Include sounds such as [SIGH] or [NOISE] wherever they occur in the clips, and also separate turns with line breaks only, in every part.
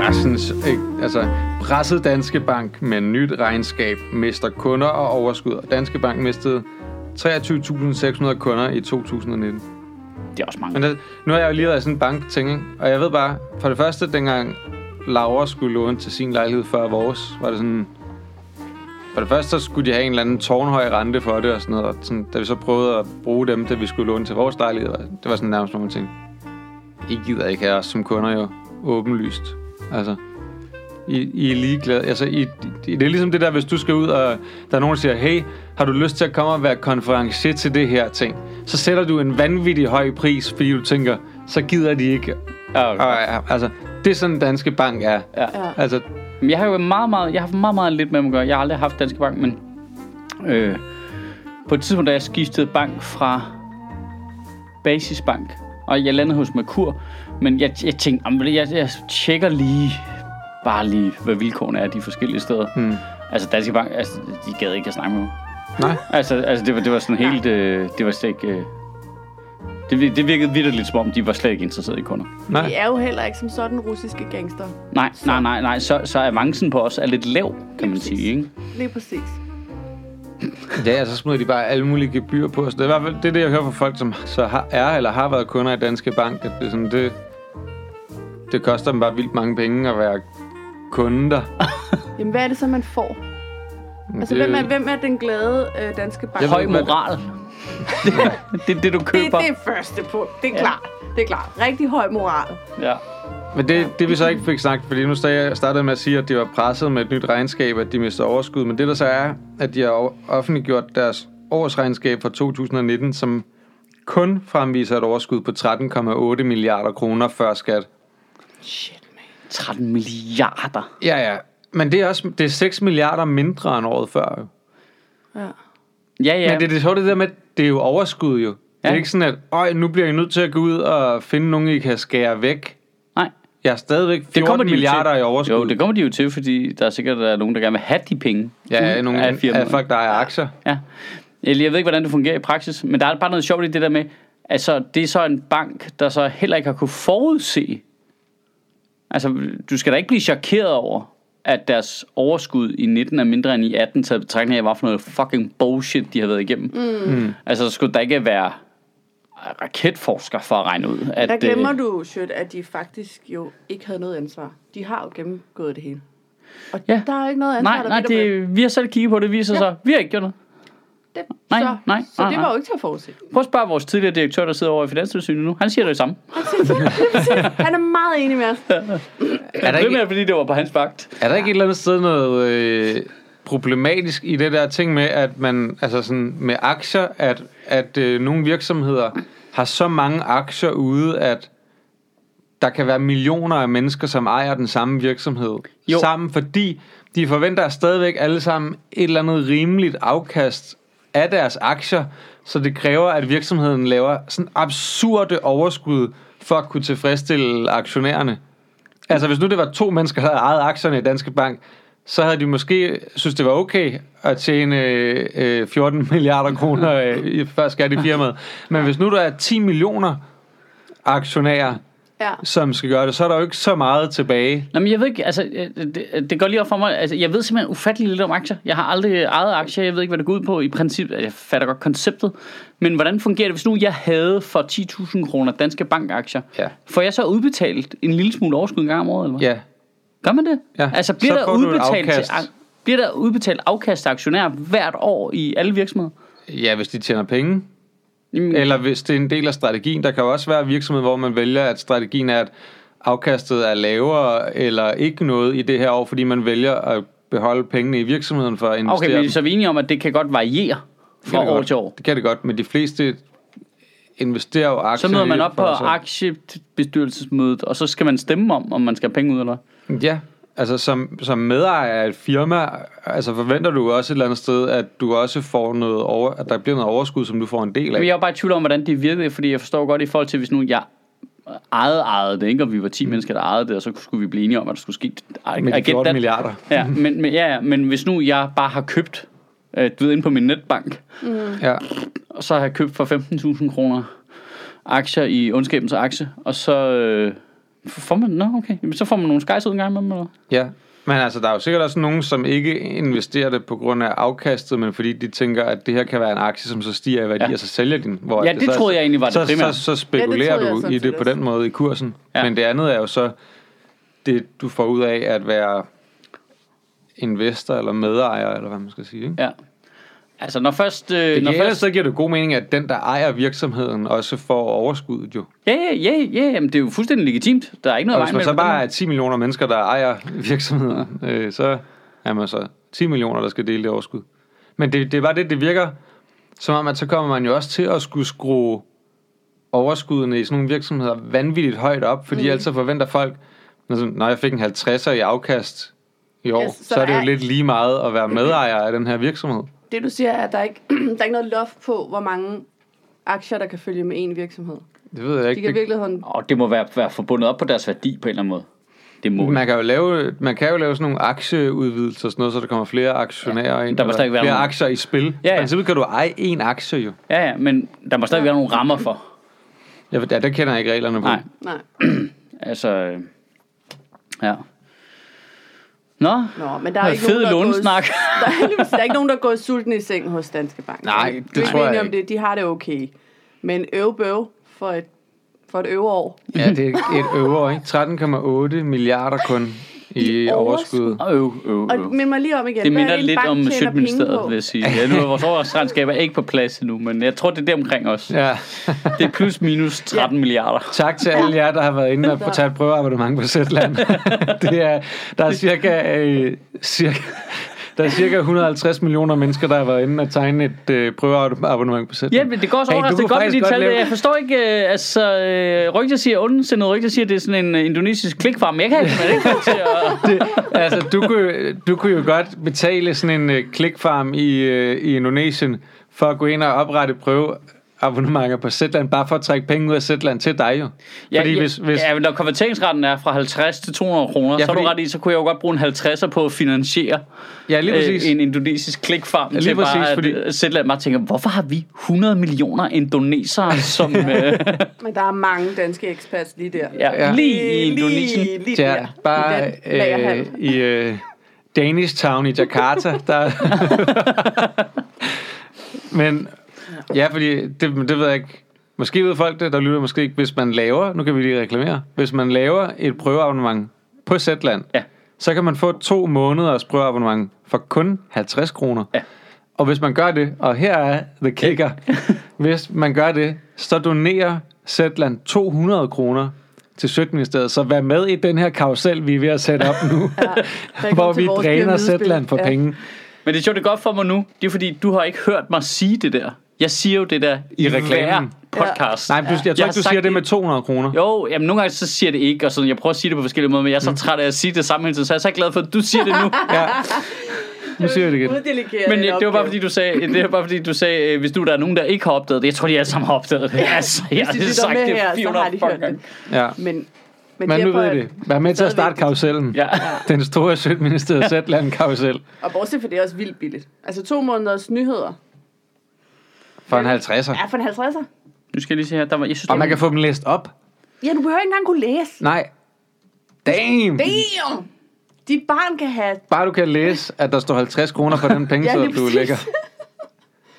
Carstens, øh, altså presset Danske Bank med nyt regnskab, mister kunder og overskud. Danske Bank mistede 23.600 kunder i 2019.
Det er også mange.
Men det, nu har jeg jo lige været i sådan en bankting, ikke? og jeg ved bare, for det første, dengang Laura skulle låne til sin lejlighed før vores, var det sådan... For det første, så skulle de have en eller anden tårnhøj rente for det og sådan noget, og sådan, da vi så prøvede at bruge dem, da vi skulle låne til vores lejlighed, var- det var sådan nærmest nogle ting. I gider ikke have os som kunder jo, åbenlyst. Altså, I, I er ligeglade. Altså, I, I, det er ligesom det der, hvis du skal ud, og der er nogen, der siger, hey, har du lyst til at komme og være konferencier til det her ting? Så sætter du en vanvittig høj pris, fordi du tænker, så gider de ikke.
Okay.
Og, ja, altså, det er sådan, Danske Bank er.
Ja.
Altså,
Men Jeg har jo meget, meget, jeg har haft meget, meget lidt med dem at gøre. Jeg har aldrig haft Danske Bank, men øh, på et tidspunkt, da jeg skiftede bank fra Basisbank, og jeg landede hos Merkur, men jeg, jeg tænkte, "Jamen, ved du, jeg, jeg tjekker lige, bare lige, hvad vilkårene er de forskellige steder. Hmm. Altså Danske Bank, altså, de gad ikke at snakke med mig.
nej.
Altså, altså det, var, det var sådan helt, øh, det var slet ikke, øh, det, vir- det virkede vidderligt som om, de var slet ikke interesserede i kunder.
Nej.
De er jo heller ikke som sådan russiske gangster.
Nej, nej, nej, nej, så, så avancen på os er lidt lav, kan man sige, ikke?
Lige præcis.
Ja, og så smider de bare alle mulige gebyr på. Så det er i hvert fald det, er det, jeg hører fra folk, som så har, er eller har været kunder i Danske Bank. At det, er sådan, det, det koster dem bare vildt mange penge at være kunde der.
Jamen, hvad er det så, man får? Altså,
Det-
hvem er, hvem er den glade øh, danske bank?
Jeg ved
Høj
ikke, hvad- [LAUGHS]
moral. det er det, du
det,
køber.
det er første punkt. Det er ja. klart. Det er klart. Rigtig høj moral.
Ja.
Men det, det vi så ikke fik sagt, fordi nu sagde jeg- startede jeg med at sige, at de var presset med et nyt regnskab, at de mistede overskud. Men det der så er, at de har o- offentliggjort deres årsregnskab for 2019, som kun fremviser et overskud på 13,8 milliarder kroner før skat.
13 milliarder.
Ja, ja. Men det er også det er 6 milliarder mindre end året før. Jo.
Ja.
Ja, ja.
Men det er det sjove, det der med, at det er jo overskud jo. Det er
Ja.
ikke sådan, at Øj, nu bliver I nødt til at gå ud og finde nogen, I kan skære væk.
Nej.
Jeg er stadigvæk 14
Det kommer de jo
milliarder
til.
i overskud.
Jo, det kommer de jo til, fordi der er sikkert der er nogen, der gerne vil have de penge.
ja,
ud
nogle
af
af,
firmaet.
af folk, der ejer aktier.
Ja. Eller jeg ved ikke, hvordan det fungerer i praksis, men der er bare noget sjovt i det der med, altså det er så en bank, der så heller ikke har kunne forudse. Altså, du skal da ikke blive chokeret over, at deres overskud i 19 er mindre end i 18, taget i betragtning af, hvad for noget fucking bullshit, de har været igennem. Mm. Altså, så skulle der ikke være raketforsker for at regne ud. At,
Der glemmer
øh,
du, Sjøt, at de faktisk jo ikke havde noget ansvar. De har jo gennemgået det hele. Og
Ja.
ja. der er jo ikke noget ansvar,
Nej,
der
nej,
hviler på
det, vi har selv kigget på det, viser ja. sig, vi har ikke gjort noget.
dem. dem.
nej,
så,
nej,
så
nej,
det
nej.
var jo ikke til at forudse.
Prøv at spørge vores tidligere direktør, der sidder over i Finanstilsynet nu. Han siger det samme.
Han er meget enig med os.
Er der, ikke,
Primært fordi det var på hans vagt.
er der ikke et eller andet sted noget øh, problematisk i det der ting med, at man, altså sådan med aktier, at, at øh, nogle virksomheder har så mange aktier ude, at der kan være millioner af mennesker, som ejer den samme virksomhed
Jo.
jo. sammen, fordi de forventer stadigvæk alle sammen et eller andet rimeligt afkast af deres aktier, så det kræver, at virksomheden laver sådan absurde overskud for at kunne tilfredsstille aktionærerne. Altså, hvis nu det var to mennesker, der havde ejet aktierne i Danske Bank, så havde de måske synes det var okay at tjene øh, øh, 14 [LAUGHS] milliarder kroner øh, i- før skat i firmaet. Men hvis nu der er 10 millioner aktionærer,
Ja.
som skal gøre det, så er der jo ikke så meget tilbage.
Nå, men jeg ved ikke, altså, øh, det, det går lige op for mig. Altså, jeg ved simpelthen ufattelig lidt om aktier. Jeg har aldrig ejet aktier. Jeg ved ikke, hvad det går ud på i princippet. Jeg fatter godt konceptet. Men hvordan fungerer det, hvis nu jeg havde for 10.000 kroner danske bankaktier?
Ja.
Får jeg så udbetalt en lille smule overskud en gang om året, eller hvad?
Ja,
Gør man det?
Ja.
Altså, bliver
Så
der
får du et
udbetalt til,
afkast.
ak- bliver der udbetalt afkast til aktionærer hvert år i alle virksomheder?
ja hvis de tjener penge.
Jamen,
Eller hvis det er en del af strategien. Der kan jo også være virksomheder, hvor man vælger, at strategien er, at afkastet er lavere eller ikke noget i det her år, fordi man vælger at beholde pengene i virksomheden for at Øh, investere
Okay, men
dem.
så er vi enige om, at det kan godt variere
Det
fra
kan det
år
godt.
til år.
Det kan det godt, men de fleste investerer jo aktier.
Så møder man
i-
op på
for sig.
aktiebestyrelsesmødet, og så skal man stemme om, om man skal have penge ud eller hvad.
Ja, altså som, som medejer af et firma, altså forventer du også et eller andet sted, at du også får noget over, at der bliver noget overskud, som du får en del af.
Men jeg er bare i tvivl om, hvordan det virkede, fordi jeg forstår godt i forhold til, hvis nu jeg ejede, ejede det, ikke? og vi var 10 mennesker, der ejede det, og så skulle vi blive enige om, at der skulle ske... I,
Mm. med
I
de
get
14
that.
milliarder.
Ja, men, men, ja, ja, men hvis nu jeg bare har købt, øh, du ved, inde på min netbank,
Ja.
og så har jeg købt for 15.000 kroner aktier i ondskabens aktie, og så øh, Får man? Nå, okay. Jamen, så får man nogle skejs ud en gang imellem, eller? hvad?
Ja, men altså, der er jo sikkert også nogen, som ikke investerer det på grund af afkastet, men fordi de tænker, at det her kan være en aktie, som så stiger i værdi,
Ja.
ja. og så sælger de den. Hvor
Ja,
at
det
så,
troede jeg egentlig var det
så,
primære.
Så, så
Ja, det
spekulerer
troede jeg
ja, du
sådan
i det
set
på den måde i kursen.
Ja.
Ja. Men det andet er jo så det, du får ud af at være investor eller medejer, eller hvad man skal sige. Ikke?
Ja. Altså, når først... Øh,
Det
når
giver, ellers
først
så giver det god mening, at den, der ejer virksomheden, også får overskuddet jo.
ja, ja, ja, ja, jamen, det er jo fuldstændig legitimt. Der er ikke noget
Og
vej
hvis man
med
så bare er 10 millioner mennesker, der ejer [LAUGHS] virksomheder, øh, så er man så 10 millioner, der skal dele det overskud. Men det, det er bare det, det virker som om, at så kommer man jo også til at skulle skrue overskuddene i sådan nogle virksomheder vanvittigt højt op, fordi mm. ellers så forventer folk, når sådan, når jeg fik en 50'er i afkast i år,
Ja,
yes,
så
så, så er det jo
er-
lidt lige meget at
[CLEARS THROAT]
være medejer af den her virksomhed.
Det du siger er, at der er ikke [CLEARS THROAT] der er ikke noget loft på, hvor mange aktier, der kan følge med en virksomhed.
Det ved jeg
De
ikke.
kan i
Det-
virkeligheden...
Og det må være, være forbundet op på deres værdi på en eller anden måde. Det må det.
Man kan, jo lave, man kan jo lave sådan nogle aktieudvidelser, og sådan noget, så der kommer flere aktionærer ja, ind,
der må
eller
stadig være
flere
nogle-
aktier i spil.
Ja, ja.
I princippet kan du eje én aktie jo.
Ja, ja, men der må stadig være nogle rammer for.
Jeg, ved- ja, der kender jeg ikke reglerne på.
Nej.
Nej.
Altså, øh, ja. Nå,
Nå, men der er
Noget
ikke nogen,
fed
der er gået-
lånesnak.
[LAUGHS] Der er, heldigvis- der er ikke nogen, der går sulten i seng hos Danske Bank.
Nej,
Vi er
det
ikke
tror jeg
enige om
ikke.
det. De har det okay. Men øvebøv for et, for et øveår.
Ja, det er et øvre, ikke? 13,8 milliarder kun i,
I overskud.
overskud.
øv, øv,
Og
øv.
mind mig lige om igen.
Det
Hvad er
minder
en
lidt
bank
om
tjener penge
Sjøtministeriet,
på?
vil jeg sige. Ja, nu er vores årsregnskab er ikke på plads endnu, men jeg tror, det er det omkring os.
Ja.
Det er plus minus 13 milliarder.
Tak til alle jer, der har været inde og tage et prøveabonnement på Zetland. det er, der er cirka, øh, cirka, der er cirka 150 millioner mennesker, der har været inde og tegne et øh, prøveabonnement på Zetland.
Ja, men det går også
Hey, du kunne
overraskende godt med
faktisk
de tal.
lave-
Jeg forstår ikke, øh, altså, øh, rygter siger, ondsindede rygter siger, at det er sådan en øh, indonesisk klikfarm. Jeg kan ikke, man ikke få til at...
det, altså, du kunne, du kunne jo godt betale sådan en øh, klikfarm i, øh, i Indonesien for at gå ind og oprette prøve abonnementer på Zetland, bare for at trække penge ud af Zetland til dig jo.
Ja,
fordi
ja,
hvis, hvis,
ja, men når konverteringsretten er fra 50 til 200 kroner, ja,
Ja,
så er du
fordi-
ret i, så kunne jeg jo godt bruge en 50'er på at finansiere
ja lige præcis.
øh, en indonesisk klikfarm
Ja,
ja,
lige
til bare
præcis,
at
fordi-
fordi... sætte mig og tænke, hvorfor har vi 100 millioner indonesere,
[LAUGHS]
som øh,
Men der er mange danske expats lige der.
ja, ja.
Ja.
lige i Indonesien?
Lige, lige
ja,
der. I
bare
den
øh,
lagerhal.
i øh, Danish Town i Jakarta. Der...
[LAUGHS]
Men ja, fordi det, men det ved jeg ikke. Måske ved folk det, der lytter måske ikke. Hvis man laver, nu kan vi lige reklamere, hvis man laver et prøveabonnement på Zetland,
Ja.
så kan man få to måneders prøveabonnement for kun 50 kroner.
Ja.
Og hvis man gør det, og her er the kicker, hvis man gør det, så donerer Zetland 200 kroner til Sødministeriet. Så vær med i den her karusel, vi er ved at sætte op nu, [LAUGHS] ja, hvor
velkommen til
vi
vores
dræner
pyramidespil.
Zetland for
Ja.
ja. penge.
Men det er sjovt, det er godt for mig nu. Det er fordi, du har ikke hørt mig sige det der. Jeg siger jo det der i, hver
reklamen.
podcast.
Nej, plus, jeg tror ikke,
har
du
sagt
siger det med
i-
200 kroner.
Jo, jamen nogle gange så siger jeg det ikke, og sådan, jeg prøver at sige det på forskellige måder, men jeg er så
Mm.
træt af at sige det samme hele tiden, så jeg er så glad for, at du siger det nu.
[LAUGHS] Ja. Nu siger jeg det igen.
Uddelegere
Men øh,
den
det var bare
opgave.
fordi du sagde, det var bare fordi du sagde, øh, hvis nu der er nogen der ikke har opdaget det, jeg tror de alle sammen har opdaget det. [LAUGHS] Altså, jeg har
Hvis de lytter
sagt
med
det
her, så har
400
de
fucking
hørt
gange.
det.
Ja.
Men, men,
Men nu
derfor,
ved I det. Vær med til at starte
stadigvæk-
karusellen.
Ja.
Den store Sødministeriet Zetland karusel
Og bortset for det er også vildt billigt. Altså to måneders nyheder.
for en 50'er.
Ja, for en 50'er.
Nu skal jeg lige se her, der var, jeg synes,
Og
der
man
var,
kan få dem læst op.
Ja, du behøver ikke engang kunne læse.
Nej. Damn!
Damn! Dit barn kan have...
Bare du kan læse, at der står 50 kroner for den penge,
[LAUGHS] Ja,
så
lige
du
præcis.
lægger.
Du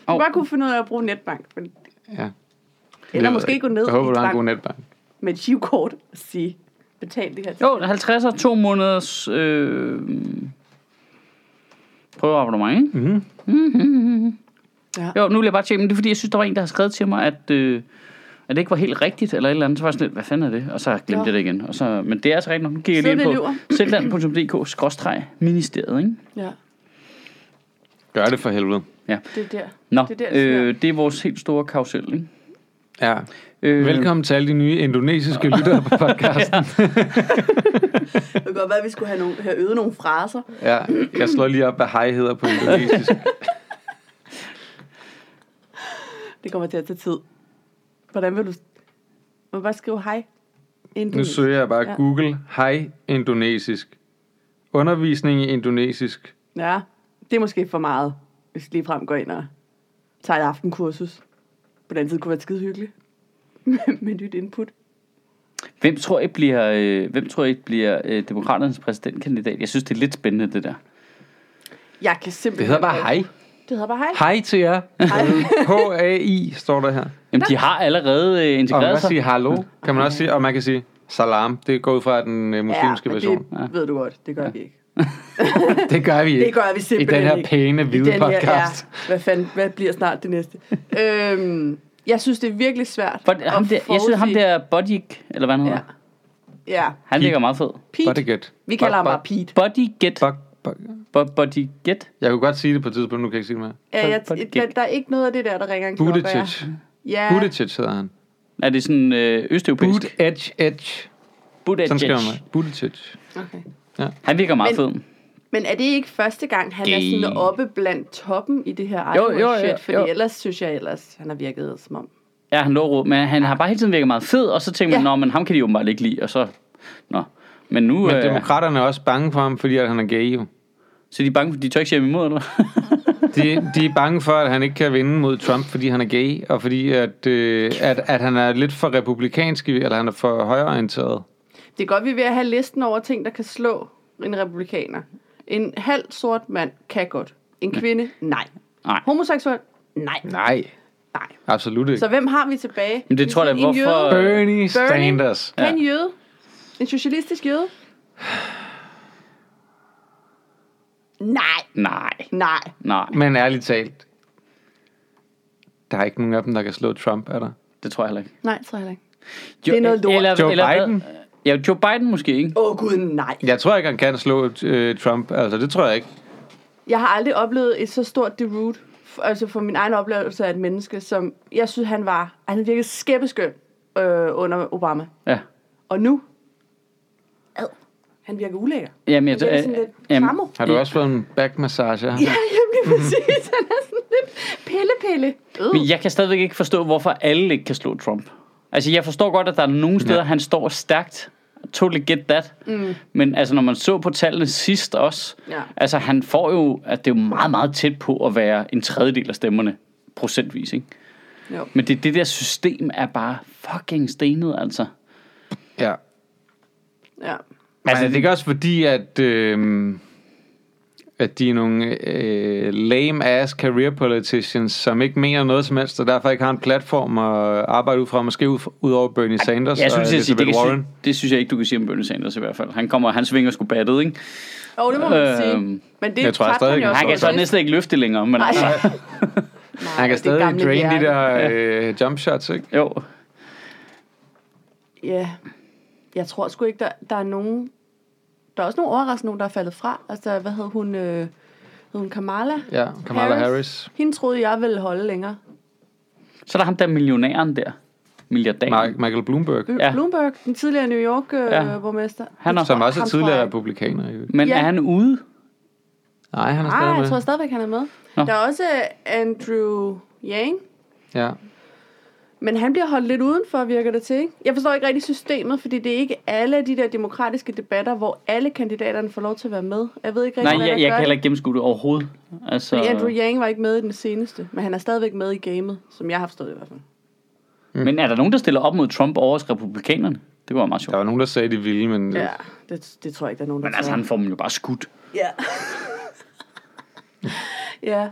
oh. bare kunne finde ud af at bruge netbank. Men,
Ja.
eller
Jeg ved
måske
ikke.
gå ned
Jeg håber,
i
du har en god
bank
netbank.
med et chivkort og sige, betal det her.
jo, 50 og to måneders øh, prøveabonnement, ikke?
Mhm.
Ja.
Jo, nu vil jeg bare tjekke, men det er fordi, jeg synes, der var en, der har skrevet til mig, at, øh, at det ikke var helt rigtigt, eller et eller andet. Så var jeg sådan lidt, hvad fanden er det? Og så har jeg glemt
Nå.
det igen. Og så, men det er altså rigtigt nok. Nu kigger jeg lige
Sidder
ind
det
på zetland.dk-ministeriet, ikke?
Ja,
Gør det for helvede.
det er der.
Nå,
Det er der, det sker.
øh, det er vores helt store karusel, ikke?
Ja.
Øh,
Velkommen til alle de nye indonesiske lyttere på podcasten.
Det kunne godt være, at vi skulle have, nogle, have øvet nogle fraser.
[LAUGHS] Ja. Jeg slår lige op, hvad hej hedder på indonesisk.
Det kommer til at tage tid. Hvordan vil du... Må jeg bare skrive hej?
[LAUGHS] Nu
Indonesisk.
søger jeg bare
Ja.
Google hej indonesisk. Undervisning i indonesisk.
Ja, det er måske for meget, hvis lige frem går ind og tager et [LAUGHS] aftenkursus. På den anden side kunne det være skide hyggeligt. med nyt input.
Hvem tror I bliver, øh, hvem tror I bliver øh, demokraternes præsidentkandidat? Jeg synes, det er lidt spændende, det der.
Jeg kan
Det
simpelthen...
hedder bare hej.
Det hedder bare hej.
Hej til jer. [LAUGHS] H-A-I står der her.
Jamen, de har allerede øh,
Og man kan
integreret
også
sig.
sige hallo. Kan man også sige, og man kan sige salam. Det går ud fra den øh, muslimske
men
version.
[LAUGHS] det ved du godt. Det gør ja. vi ikke.
Det, gør vi ikke.
Det gør vi
I
simpelthen
den her
ikke.
pæne,
I
hvide
den her-
podcast.
ja, hvad, fanden, hvad bliver snart
[LAUGHS]
det næste? øhm, jeg synes, det er virkelig svært
For, ham der, jeg synes, ham der Bodik, eller hvad han hedder,
Ja. Ja,
han
Pete.
virker meget fed.
Var
Pete.
det godt?
Vi kalder ham bare Pete.
Bodyget.
Fuck, fuck.
Bodyget.
Jeg kunne godt sige det på et tidspunkt, nu kan jeg ikke sige det mere.
Ja, jeg,
Pete.
der, der er ikke noget af det der, der ringer en klokke. og jeg-
Budetic.
Ja,
Budetic hedder han.
Er det sådan øh,
Bud
østeuropæisk?
edge edge.
Budet.
Sådan skriver man. Budetic.
okay.
Han virker meget fed.
Men- Men er det ikke første gang, han er
Gay.
sådan oppe blandt toppen i det her
Jo, jo,
jo, jo, shit?
jo,
Fordi
jo.
ellers synes jeg ellers, han har virket som om...
Ja, han lå og råbte, men han har bare hele tiden virket meget fed, og så tænker man,
Ja.
nå, men ham kan de jo bare ikke lide, og så, nå. Men nu,
Men
øh,
demokraterne er også bange for ham, fordi at han er gay jo.
så er de bange, for- de tør ikke sige ham imod, eller [LAUGHS] hvad?
De, de er bange for, at han ikke kan vinde mod Trump, fordi han er gay, og fordi at, øh, at, at han er lidt for republikansk, i- eller han er for højreorienteret.
Det er godt, vi er ved at have listen over ting, der kan slå en republikaner. En halv sort mand kan godt. En kvinde? Nej.
Nej.
Homoseksuel? Nej.
Nej,
Nej.
absolut ikke.
Så hvem har vi tilbage?
Men det tror jeg da,
En jøde?
hvorfor-
Bernie Sanders.
Kan en jøde? En
[SIGHS]
socialistisk jøde? Nej.
Nej,
Nej.
nej,
Men ærligt talt, der er ikke nogen af dem, der kan slå Trump, er der?
det tror jeg heller ikke.
Nej, tror jeg heller ikke.
Jo,
Det er noget lort.
Joe
hvad?
Biden?
Ja, Joe Biden måske, ikke?
Åh oh, gud, nej.
Jeg tror ikke, han kan slå øh, Trump. Altså, det tror jeg ikke.
Jeg har aldrig oplevet et så stort derud, f- altså for min egen oplevelse af et menneske, som jeg synes, han var. Han virkede skæbbeskøn øh, under Obama.
Ja.
Og nu? Ad. Han virker ulækker.
Jamen,
Han
jeg, øh,
virker sådan lidt
jamen,
framo.
Har du også fået en backmassage?
[LAUGHS] Ja, jamen, lige præcis. Han er sådan lidt pille-pille.
men jeg kan stadigvæk ikke forstå, hvorfor alle ikke kan slå Trump. Altså, jeg forstår godt, at der er nogle steder, ja. han står stærkt. Totally get that. Mm. Men altså, når man så på tallene sidst også,
Ja.
altså, han får jo, at det er jo meget, meget tæt på at være en tredjedel af stemmerne, procentvis, ikke?
Jo.
Men det, det der system er bare fucking stenet, altså.
Ja.
Ja.
Altså, det er ikke også fordi, at, øh, at de er nogle øh, lame-ass career politicians, som ikke mener noget som helst, og derfor ikke har en platform at arbejde ud fra, måske ud, ud over Bernie Sanders
Jeg synes,
og
jeg siger, det,
Elizabeth
kan,
Warren.
sige- det synes jeg ikke, du kan sige om Bernie Sanders i hvert fald. Han kommer, han svinger sgu battet, ikke?
Og det må man sige.
Øhm,
Men det
jeg tror, jeg
tabte
stadig-
jo også
Han kan
over
så
sidst.
næsten ikke løfte det længere, men
Nej.
altså,
Han
det er
kan stadig
gamle
drain de
hjerte.
der øh, jump shots, ikke?
jo.
Ja. Jeg tror sgu ikke, der, der er nogen... Der er også nogle overraskende nogen, der er faldet fra. Altså, hvad hed hun? Øh, hed hun Kamala?
Ja, Kamala Harris. Harris.
Hende troede jeg ville holde længere.
Så er der ham der millionæren der. Milliardæren.
Mark, Michael Bloomberg,
Ja.
Ja. Bloomberg, den tidligere New York-borgmester.
Ja.
Øh, borgmester.
Han er,
som også er
Ham tror
tidligere
jeg.
republikaner. jo.
men
Ja.
er han ude?
Nej, han er
Nej,
stadig
Ah, jeg
med.
tror stadigvæk, han er med.
Nå.
Der er også øh, Andrew Yang.
Ja.
Men han bliver holdt lidt udenfor, virker det til, ikke? Jeg forstår ikke rigtig systemet, fordi det er ikke alle af de der demokratiske debatter, hvor alle kandidaterne får lov til at være med. Jeg ved ikke
Nej,
rigtig, hvad
jeg,
der
jeg
gør
kan heller
det.
ikke gennemskue det overhovedet. Altså,
Fordi Andrew Yang var ikke med i den seneste, men han er stadigvæk med i gamet, som jeg har forstået det i hvert fald.
men er der nogen, der stiller op mod Trump over hos republikanerne? Det var meget sjovt.
Der var nogen, der sagde, de ville, men...
Ja, det, det tror jeg ikke, der er nogen, der
Men altså,
tror.
han får dem jo bare skudt.
Ja. [LAUGHS] ja.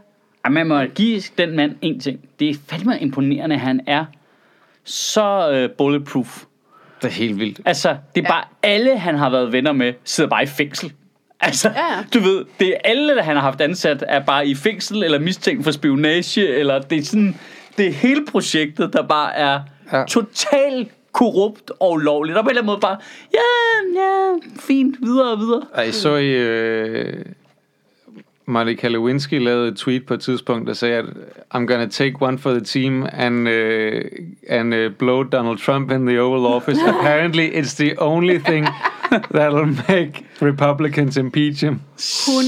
Ej, man må give den mand en ting. Det er fandme imponerende, han er så øh, bulletproof.
Det er helt vildt.
Altså, det er ja. bare alle, han har været venner med, sidder bare i fængsel. Altså, ja.
Ja.
du ved, det er alle, der han har haft ansat, er bare i fængsel, eller mistænkt for spionage, eller det er sådan, det er hele projektet, der bare er ja.
Ja.
totalt korrupt og ulovligt. Og på en eller anden måde bare, ja, ja, fint, videre og videre.
Ej, så I... Øh, Monica Lewinsky lavede et tweet på et tidspunkt, der sagde, at I'm gonna take one for the team and, uh, and uh, blow Donald Trump in the Oval Office. Apparently it's the only thing that'll make Republicans impeach him.
Hun er,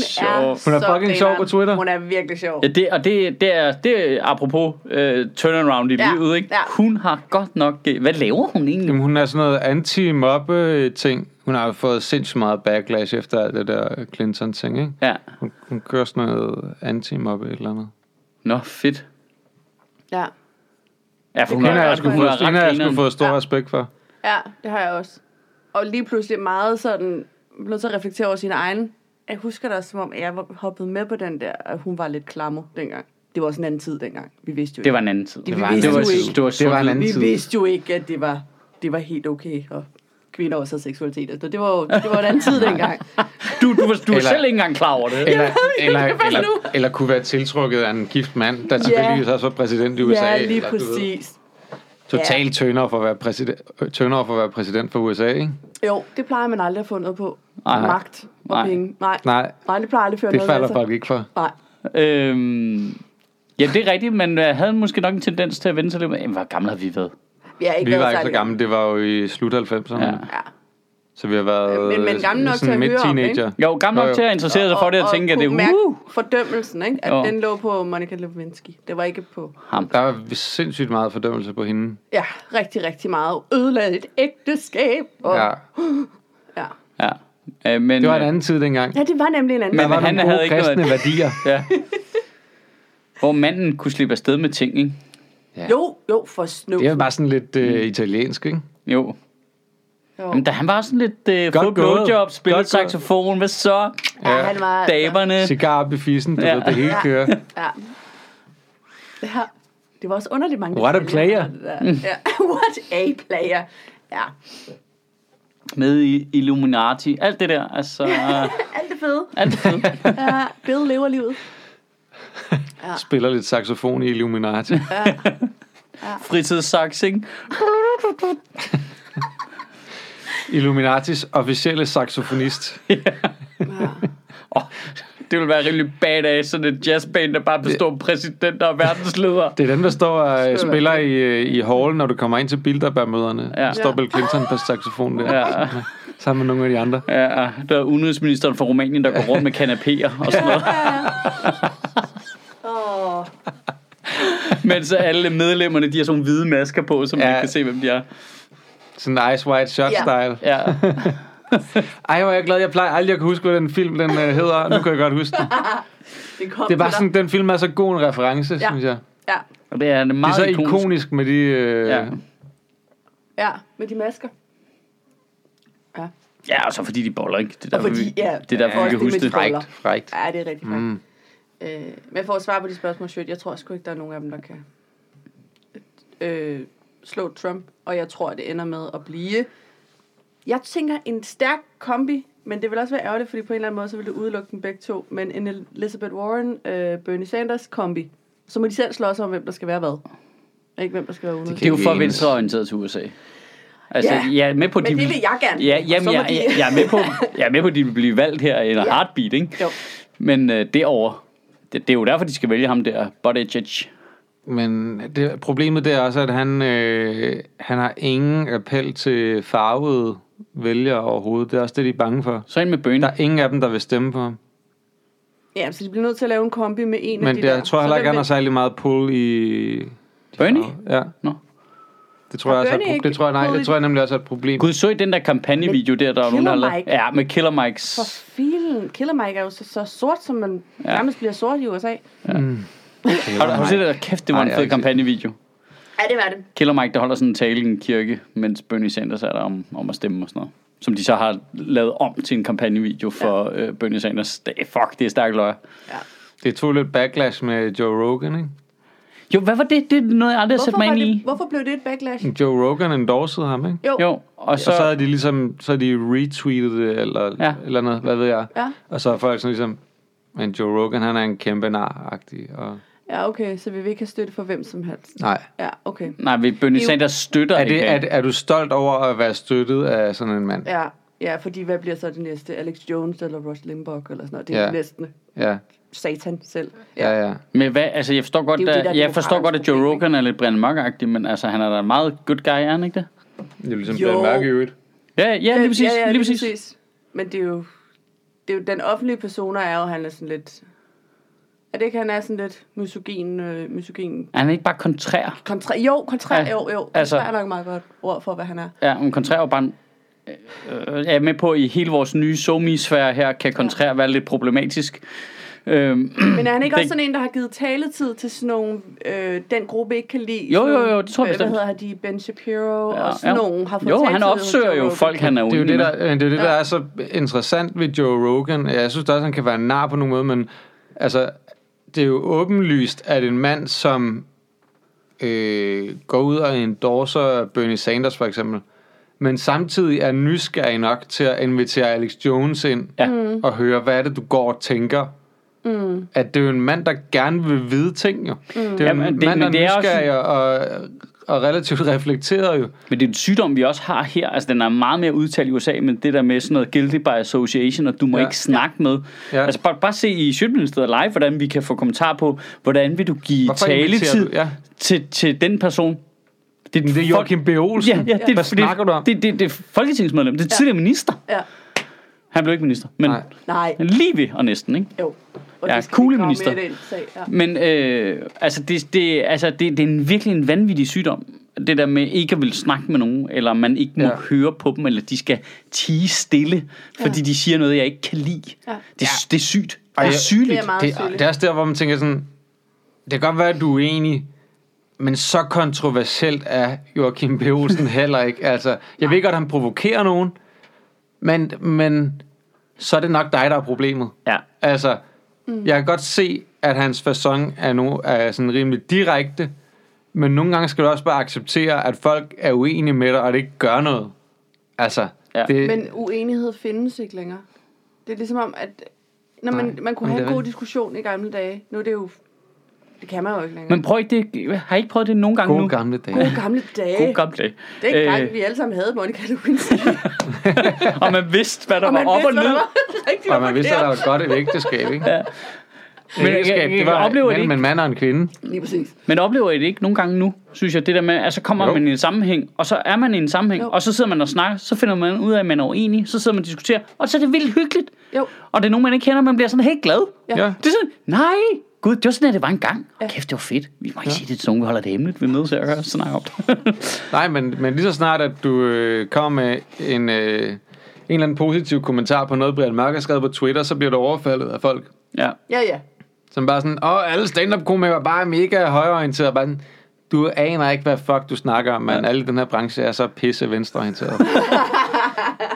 Sjov.
Hun er
så
fucking sjov
grineren.
på Twitter.
Hun er virkelig sjov.
Ja, det, og det, det, er, det er apropos øh, turnaround i ja.
Ja,
livet, ikke? Ja.
ja.
Hun har godt nok... øh, Hvad laver hun egentlig?
Jamen, hun er sådan noget anti-mobbe-ting. Hun har jo fået sindssygt meget backlash efter alt det der Clinton-ting, ikke?
Ja.
Hun, hun kører sådan noget anti-mobbe et eller andet.
Nå, fedt.
Ja.
Ja, for hun
Hende
er
har jeg
ret-
sgu
hun er
fået,
ret
hende har jeg sgu
grineren.
fået stor
Ja.
respekt for.
Ja, det har jeg også. Og lige pludselig meget sådan, blevet til at reflektere over sin egen. Jeg husker det også, som om jeg var- hoppede med på den der, at hun var lidt klammer dengang. Det var også en anden tid dengang. Vi vidste jo
Det var en anden tid.
Det
var,
vidste
det var,
du ikke.
det var,
Det var en anden
Vi
tid.
vidste jo ikke, at det var, det var helt okay, og kvinder også havde seksualitet. Så det var jo det var en anden
[LAUGHS]
tid dengang.
Du, du, var, du var
Eller-
selv ikke engang klar over det.
Eller, eller,
det er først
eller,
nu.
eller kunne være tiltrukket af en gift mand, der tilfældigvis også var præsident i USA.
ja, lige
eller du ved,
præcis.
Totalt tønder for at være præsident, tønder for at være præsident for USA, ikke?
Jo, det plejer man aldrig at få noget på.
Nej.
Magt og
Nej.
penge. Nej. Nej.
Nej,
Nej, det plejer aldrig at føre
det
noget
falder
sig.
folk ikke for.
Nej.
Øhm, ja, det er rigtigt, men jeg havde måske nok en tendens til at vende sig lidt. med, Jamen, hvor gammel har vi været?
Vi, har ikke
Vi
været
var ikke så
særlig-
gamle, det var jo i slut 90'erne. Ja.
Ja.
Ja.
Så vi har været
Øh, Men- men gamle nok
sådan
til at høre om,
midt-teenager.
Jo, gammel
Jo, jo.
nok til at interessere sig for det og tænke, at det er
kunne mærke
uh,
fordømmelsen, ikke? At
Jo.
den lå på Monica Lewinsky. Det var ikke på...
ham.
Der var sindssygt meget fordømmelse på hende.
Ja, rigtig, rigtig meget. Ødelagde et ægteskab. Og,
Ja.
ja.
Ja. Øh, men,
Det var en anden tid dengang.
Ja, det var nemlig en anden.
Der
Men
var
han
nogle
havde
gode
ikke
kristne
noget-
værdier.
Ja. Hvor manden kunne slippe afsted med ting, ikke?
Jo, jo, for snus.
Det var bare sådan lidt øh, italiensk, ikke?
Jo.
Jo.
Jamen, da han var sådan lidt øh,
Godt gået.
fået blowjob, spillet
Godt gået.
saxofon, hvad så?
Ja, han var... altså-
Damerne.
Cigar op i fissen, du
Ja.
ja. ved, det hele kører.
Ja. ja. Det var også underligt mange...
What a player.
detaljer, det der. [LAUGHS] Ja. What a player. Ja.
Med i Illuminati. Alt det der, [LAUGHS] altså.
[LAUGHS] Alt det fede.
alt det fede.
Ja. Bill lever livet.
Spiller lidt saxofon i Illuminati.
Fritidssax, ikke?
Illuminatis officielle saxofonist.
Oh, det ville være rimelig badass, sådan et jazzband, der bare består af præsidenter og verdensledere.
Det er den, der står og øh,
Spiller.
spiller i, øh, i hallen, når du kommer ind til Bilderberg-møderne.
Ja.
Ja. står
Ja.
Bill Clinton på saxofon der, ja.
Ja,
sammen med nogle af de andre.
ja, der er udenrigsministeren fra Rumænien, der går rundt med kanapéer og sådan noget.
Åh. Oh.
Mens alle medlemmerne, de har sådan nogle hvide masker på, så man
Ja.
ikke kan se, hvem de er.
Sådan Ice White
Ja.
Shot-style.
Ja.
Ej, hvor er jeg glad. Jeg plejer aldrig at kunne huske, hvad den film den uh, hedder. Nu kan jeg godt huske den.
Det, kom
Det
[LAUGHS]
er bare
til dig.
sådan, den film er så god en reference, ja. synes jeg.
Ja.
Og det er en
Det er
meget
så ikonisk, ikonisk med de... Øh,
Ja.
ja.
Ja, med de masker. Ja.
Ja, og så fordi de boller, ikke? Det er
Og
derfor,
fordi-
vi,
ja,
det er derfor, vi
også
kan
det med
huske
de
det.
boller.
Frækt, frækt.
Ja, det er rigtig faktisk. Mm. Øh, men for at svare på de spørgsmål, Sjøt, jeg tror sgu ikke, der er nogen af dem, der kan øh, slå Trump. Og jeg tror, det ender med at blive... Jeg tænker en stærk kombi, men det vil også være ærgerligt, fordi på en eller anden måde, så vil det udelukke dem begge to. Men en Elizabeth Warren, øh, Bernie Sanders kombi. Så må de selv slås om, hvem der skal være hvad. Og ikke hvem der skal være ude.
kan
Det er jo for
Enes.
venstreorienteret til USA. Altså,
Ja,
ja, jeg er med på, at de
Men det
vil-
vil jeg gerne.
Ja,
Og så
jamen,
må
jeg,
de-
jeg, jeg, er med på, jeg er med på, at de vil blive valgt her i en ja. heartbeat, ikke?
Jo.
Men øh, derovre, det, det er jo derfor, de skal vælge ham der, Buttigieg.
Men det, problemet det er også, at han, øh, han har ingen appel til farvede vælgere overhovedet. Det er også det, de er bange for.
Så ind med Bernie.
Der er ingen af dem, der vil stemme på ham.
Ja, så de bliver nødt til at lave en kombi med en af
Men
de
det, jeg
der.
tror
Så
heller ikke,
hvem
han har
vil-
særlig meget pull i...
Bernie?
Ja.
Nå.
Det tror, jeg
Har
også er, et
Bernie
pro-
ikke
det tror jeg, nej,
pull i-
det tror jeg nemlig også er et problem.
Gud, så i den der kampagnevideo der, der er nogen, der har
Killer
lavet.
Mike.
Ja, med Killer Mikes.
For filen. Killer Mike er jo så, så sort, som man ja. nærmest bliver sort i USA.
Har du- har du set det der? Kæft, det var
Nej,
en
jeg har ikke set
fed
det.
kampagnevideo.
Ja, det var det.
Killer Mike, der holder sådan en tale i en kirke, mens Bernie Sanders er der om, om at stemme og sådan noget. Som de så har lavet om til en kampagnevideo for ja. øh, Bernie Sanders. Det, fuck, det er stærkt løg.
Ja.
Det tog lidt backlash med Joe Rogan, ikke?
Jo, hvad var det? Det er noget, jeg aldrig har sat
Hvorfor,
mig
var
ind
det,
i.
hvorfor blev det et backlash?
Joe Rogan endorsede ham, ikke?
Jo. jo.
Jo, og
Så, og så
så...
havde de ligesom, så havde de retweetet det, eller,
Ja.
ja. eller noget, hvad ved jeg.
Ja.
Og så er folk sådan ligesom, men Joe Rogan, han er en kæmpe nar-agtig. Og...
ja, okay, så vi vil ikke have støtte for hvem som helst.
Nej.
Ja, okay.
Nej, vi Bernie
Jo.
Sanders støtter
Er,
ikke.
det, er, er du stolt over at være støttet af sådan en mand?
Ja, ja, fordi hvad bliver så det næste? Alex Jones eller Rush Limbaugh eller sådan noget. Det er
Ja.
ja. næsten
Ja,
satan selv.
ja, ja.
Men hvad, altså, jeg forstår godt,
Det er jo det, der
at,
er
jeg forstår
demokraternes
godt, at Joe
problem, ikke?
Rogan er lidt Brian Mørk-agtig, men altså, han er da en meget good guy, er han ikke det?
Det er ligesom
Jo. Brian Mørk i
øvrigt.
Ja, ja, lige præcis.
Øh, Ja, ja,
lige præcis.
Men det er jo... Det er jo den offentlige persona er jo, han er sådan lidt... Er det ikke, han er sådan lidt misogyn... Øh, misogyn
Er han ikke bare kontrær?
kontra, jo, kontrær,
Ja,
ja. jo, jo. Kontrær
altså-
altså, er nok meget godt ord for, hvad han er.
Ja, men kontrær er jo bare en, øh, øh, jeg er med på, at i hele vores nye somi sfære her, kan kontrær være lidt problematisk. Øhm,
Men er han
Det-
ikke også sådan en, der har givet taletid til sådan nogle, øh, den gruppe ikke kan lide?
Jo,
Sådan
jo,
nogle,
jo, det tror jeg
øh,
bestemt.
Hvad hedder de? Ben
[CLEARS THROAT]
Shapiro
Ja,
ja, og sådan
ja.
nogen har fået
jo,
taletid
han
hos
opsøger
Joe
jo
Rogan.
folk, han er
Det er jo
uenig
det,
med.
der, men det, er jo det, der
Ja.
er så interessant ved Joe Rogan. Jeg synes også, han kan være nar på nogle måde, men altså, det er jo åbenlyst, at en mand, som øh, går ud og endorser Bernie Sanders for eksempel, men samtidig er nysgerrig nok til at invitere Alex Jones ind
Ja.
og høre, hvad er det, du går og tænker. Mm. At det er jo en mand, der gerne vil vide ting, jo. Mm. Det er jo
Jamen,
en
det-
mand, der
men det er
er
også-
nysgerrig og, og relativt [LAUGHS] reflekteret, jo.
Men det er en sygdom, vi også har her. Altså, den er meget mere udtalt i USA, men det der med sådan noget guilty by association, og du må
Ja.
ja. ikke snakke med.
Ja.
Ja. Altså, bare, bare se i Sjøtministeriet live, hvordan vi kan få kommentar på, hvordan vil du give
Hvorfor inviterer
taletid
du- ja.
til, til den person. Det
Det er
folk-
Joachim B. Olsen.
Ja, ja, det,
Hvad
det,
snakker du om?
Det, det, det er folketingsmedlem. Det er tidligere minister.
Ja.
Han blev ikke minister, men
Nej.
Nej,
lige ved og næsten, ikke?
jo. Og
Ja,
det skal vi
kugle
grave
minister.
mere ind i sag, Ja.
Men øh, altså, det, det, altså det, det er en, virkelig en vanvittig sygdom. Det der med ikke at ville snakke med nogen, eller man ikke må
Ja.
ja. høre på dem, eller de skal tige stille, fordi
Ja.
ja. de siger noget, jeg ikke kan lide.
Ja.
Ja. Det, det er sygt.
Ej,
det
jeg-
er sygeligt.
Det er meget
det,
sølle.
det er også der, hvor man tænker sådan, det kan godt være, at du er enig, men så kontroversielt er Joachim B. Olsen
[LAUGHS]
heller ikke. Altså, jeg ved godt, at han provokerer nogen, men, men så er det nok dig, der er problemet.
Ja.
Altså, mm. jeg kan godt se, at hans façon er, nu, er sådan rimelig direkte, men nogle gange skal du også bare acceptere, at folk er uenige med dig, og det ikke gør noget. Altså,
Ja.
det,
Men uenighed findes ikke længere. Det er ligesom om, at når man,
Nej,
man kunne
men
have
det
en
er
god
det.
diskussion i gamle dage. Nu er det jo... Det kan man jo ikke længere.
Men prøv ikke det. Har I ikke prøvet det nogle gange nu?
gode gamle dage.
Gode gamle dage.
God gamle dag.
det er ikke
Øh,
øh, vi alle sammen havde Monica Lewinsky.
og man vidste, hvad [LAUGHS] der
og
var
man
op og
vidste, hvad
ned.
der var [LAUGHS] rigtigt
Og man vidste, at der
forkert.
var godt et ægteskab, ikke? Ja.
Men jeg- jeg- jeg
det var
oplever det
mellem
ikke.
en mand og en kvinde.
Lige præcis.
Men oplever I det ikke nogle gange nu, synes jeg, det der med, at så kommer
Jo.
jo. man i en sammenhæng, og så er man i en sammenhæng,
Jo.
jo. og så sidder man og snakker, så finder man ud af, at man er uenig, så sidder man og diskuterer, og så er det vildt hyggeligt.
Jo.
Og det er nogen, man ikke kender, man bliver sådan helt glad.
Ja.
Ja.
Det er sådan, nej, gud, det var sådan, at det var engang.
Ja.
Ja. Kæft, det var fedt. Vi må ikke ja. sige det til nogen, vi holder det hemmeligt. Vi er nødt til at høre snakke om det.
Nej, men, men lige så snart, at du øh, kommer med en, øh, en eller anden positiv kommentar på noget, Brian Mørk har skrevet på Twitter, så bliver du overfaldet af folk,
[LAUGHS] ja.
Ja, ja.
som bare sådan, åh, alle stand-up-komikere er bare mega højreorienterede. Bare sådan, du aner ikke, hvad fuck du snakker om, mand. Ja.
Ja.
Alle i den her branche er så pisse venstreorienteret.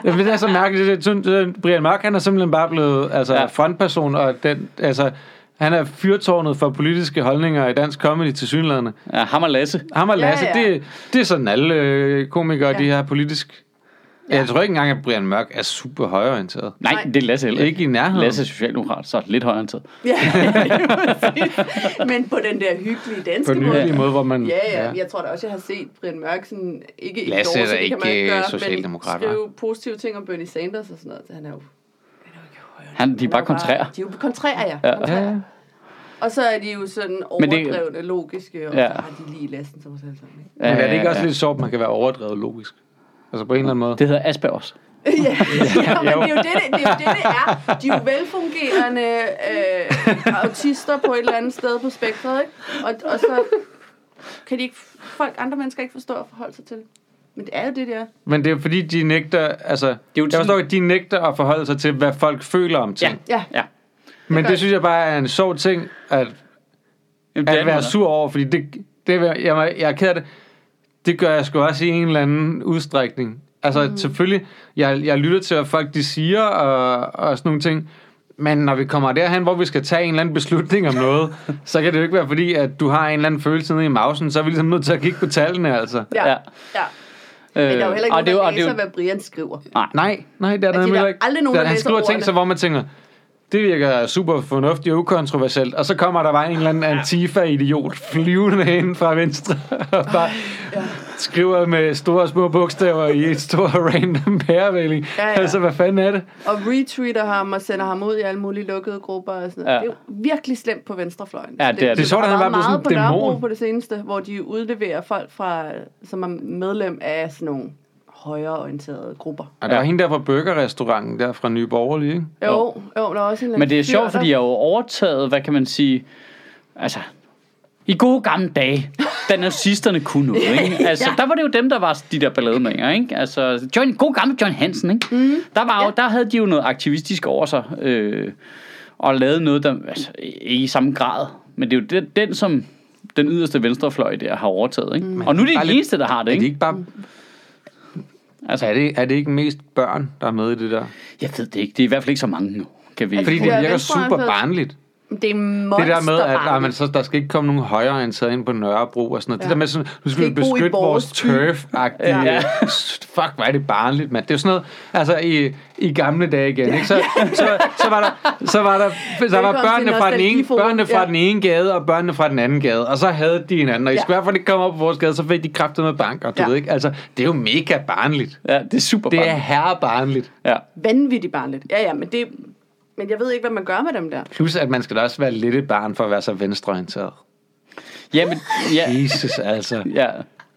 Jamen, [LAUGHS] det er så mærkeligt. Det er sådan, det er- Brian Mørk, han er simpelthen bare blevet altså, ja.
Ja.
frontperson, og den, altså, han er fyrtårnet for politiske holdninger i dansk comedy til synlædende.
ja, ham og Lasse.
Ham og
Ja,
Lasse, ja,
ja.
ja. Det, det er sådan alle øh, komikere, ja.
Ja.
de her politisk. Ja. Jeg tror ikke engang, at Brian Mørk er super højorienteret.
Nej,
Nej.
det er Lasse heller ikke.
Ikke i nærheden.
Lasse er socialdemokrat, så lidt højere end tid.
[LAUGHS] ja. Men på den der hyggelige
På
danske
den
måde.
hyggelige måde, hvor man...
Ja, ja, ja. Jeg tror da også, jeg har set Brian Mørk sådan, ikke
Lasse er
endorse,
da
det kan man
ikke, øh,
gøre,
socialdemokrat,
men skrive positive ting om Bernie Sanders og sådan noget. Han er jo... Han er jo ikke højre.
Han, de er
Han
bare kontrære.
De er jo kontrære, ja.
Ja.
Ja,
Kontrære.
ja.
Og så er de jo sådan
Men det-
overdrevne, det, logiske, og
Ja.
ja. så har de lige lasten som os alle sammen. Ikke?
Men er det ikke også lidt sjovt, at man kan være overdrevet logisk? Altså på en eller anden måde.
Det hedder Aspergers.
ja, ja, men det er, jo det, det, det er jo det, det er. De er jo velfungerende øh, autister på et eller andet sted på spektret, ikke? Og, og så kan de ikke, folk, andre mennesker ikke forstå at forholde sig til det. Men det er jo det, det er.
Men det er fordi, de nægter... Altså, det er
jo
jo jeg
sådan-
forstår, at de nægter at forholde sig til, hvad folk føler om ting. Ja,
Ja,
ja.
Men
gør
det synes jeg bare er en sjov ting, at
Jamen, det er
at være
noget.
sur over, fordi det, det vil- jeg, jeg, jeg er ked af det. Det gør jeg sgu også i en eller anden udstrækning. Altså mm. selvfølgelig, jeg, jeg lytter til, hvad folk de siger og, og sådan nogle ting, men når vi kommer derhen, hvor vi skal tage en eller anden beslutning om [LAUGHS] noget, så kan det jo ikke være fordi, at du har en eller anden følelse nede i mausen, så er vi ligesom nødt til at kigge på tallene, altså.
ja,
Ja. Øh,
ja. ja. Men der er jo heller ikke
og det er
nogen,
jo-
der
og det er jo-
læser, hvad Brian skriver.
Nej.
Nej, nej, det er der
de er
nemlig
der
ikke.
aldrig nogen,
Der-
der
han
læser
skriver ting,
ordene.
så hvor man tænker, det virker super fornuftigt og ukontroversielt. Og så kommer der bare en eller anden antifa-idiot flyvende ind fra venstre [LAUGHS] og bare ja. skriver med store og små bogstaver i et stor [LAUGHS] random pærevælling.
Ja, ja.
Altså, hvad fanden er det?
Og retweeter ham og sender ham ud i alle mulige lukkede grupper og sådan noget.
Ja.
Ja. Det er jo virkelig slemt på venstrefløjen.
Ja, det er det. Det er
sjovt, at han
Der
bare
har
blev
været meget
sådan en
på
dæmon.
Nørrebro på det seneste, hvor de udleverer folk, fra, som er medlem af sådan nogle højreorienterede grupper.
Og der var hende der fra burgerrestauranten der fra Nye Borgerlige, ikke?
Jo, jo, jo der er også en eller
Men det er
anden
sjovt,
fyr,
fordi jeg er jo overtaget, hvad kan man sige, altså, i gode gamle dage, da nazisterne kunne noget, ikke? Altså,
Ja.
der var det jo dem, der var de der ballademager, ikke? Altså,
Mhm.
John, god gammel John Hansen, ikke? Mm. Der, var jo, der havde de jo noget aktivistisk over sig, øh, og lavet noget, der altså, ikke i samme grad, men det er jo det, den, som den yderste venstrefløj der har overtaget. Ikke? Mm. Og nu er det
Bare
de
lidt-
eneste, der har det.
Er det
Ikke?
ikke bare... Altså, er det, er det ikke mest børn, der er med i det der?
Jeg ved det ikke. Det er i hvert fald ikke så mange nu. Kan vi
Fordi det
bliver
virker
venstreorienteret.
super barnligt.
Det er
Det der med, at ah,
monsterbarnet.
man, så, der skal ikke komme nogen højreorienterede ind på Nørrebro og sådan noget. Ja.
Ja.
Det der med sådan, nu skal
Skal
vi
ikke bo i
beskytte vores
vores by.
turf-agtige...
Ja.
Ja. [LAUGHS] Fuck, hvor er det barnligt, mand. Det er jo sådan noget, altså i, i gamle dage igen, ikke? Så, så, så, var der, så var der, så var
Velkommen
der børnene
til
fra den ene,
Nostalgiforum.
børnene fra
Ja.
den ene gade og børnene fra den anden gade, og så havde de hinanden, og i
Ja.
skulle hvert fald ikke komme op på vores gade, så fik de kraftet med bank, og du
Ja.
ved ikke, altså, det er jo mega barnligt.
Ja, det er super
Det er
barnligt.
herrebarnligt.
Ja.
Vanvittigt barnligt. Ja, ja, men det... Men jeg ved ikke, hvad man gør med dem der.
Plus, at man skal da også være lidt et barn for at være så venstreorienteret.
Jamen, ja,
Jesus, altså.
ja.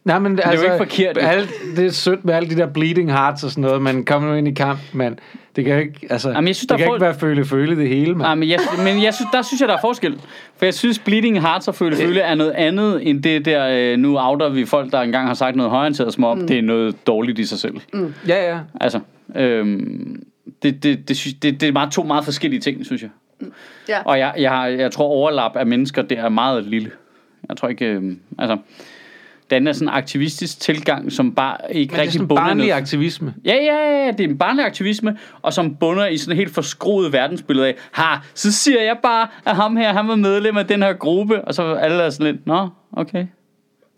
Nej, men det
er jo ikke forkert, jo.
Alt, det er sødt med alle de der bleeding hearts og sådan noget, men kom nu ind i kamp, men det kan jo ikke, altså,
Jamen, jeg synes, der
det kan
er
ikke være føle-føle det hele,
Nej,
mand.
men, jeg, men jeg synes, der synes jeg, der er forskel. For jeg synes, bleeding hearts og føle føle er noget andet, end det der, øh, nu outer vi folk, der engang har sagt noget højorienteret, som om mm. det er noget dårligt i sig selv. Mm.
Ja, ja.
Altså, øhm, det, det, det, synes, det, det er meget, to meget forskellige ting, synes jeg.
Ja.
Og jeg, jeg, har, jeg tror, overlap af mennesker, det er meget lille. Jeg tror ikke, øhm, altså... Den er sådan en aktivistisk tilgang, som bare
Men
ikke
det er
rigtig
sådan
bunder i
barnlig
noget
aktivisme.
Ja, ja, ja, ja, det er en barnlig aktivisme, og som bunder i sådan et helt forskroet verdensbillede af, ha, så siger jeg bare, at ham her, han var medlem af den her gruppe, og så er alle er sådan lidt, nå, okay,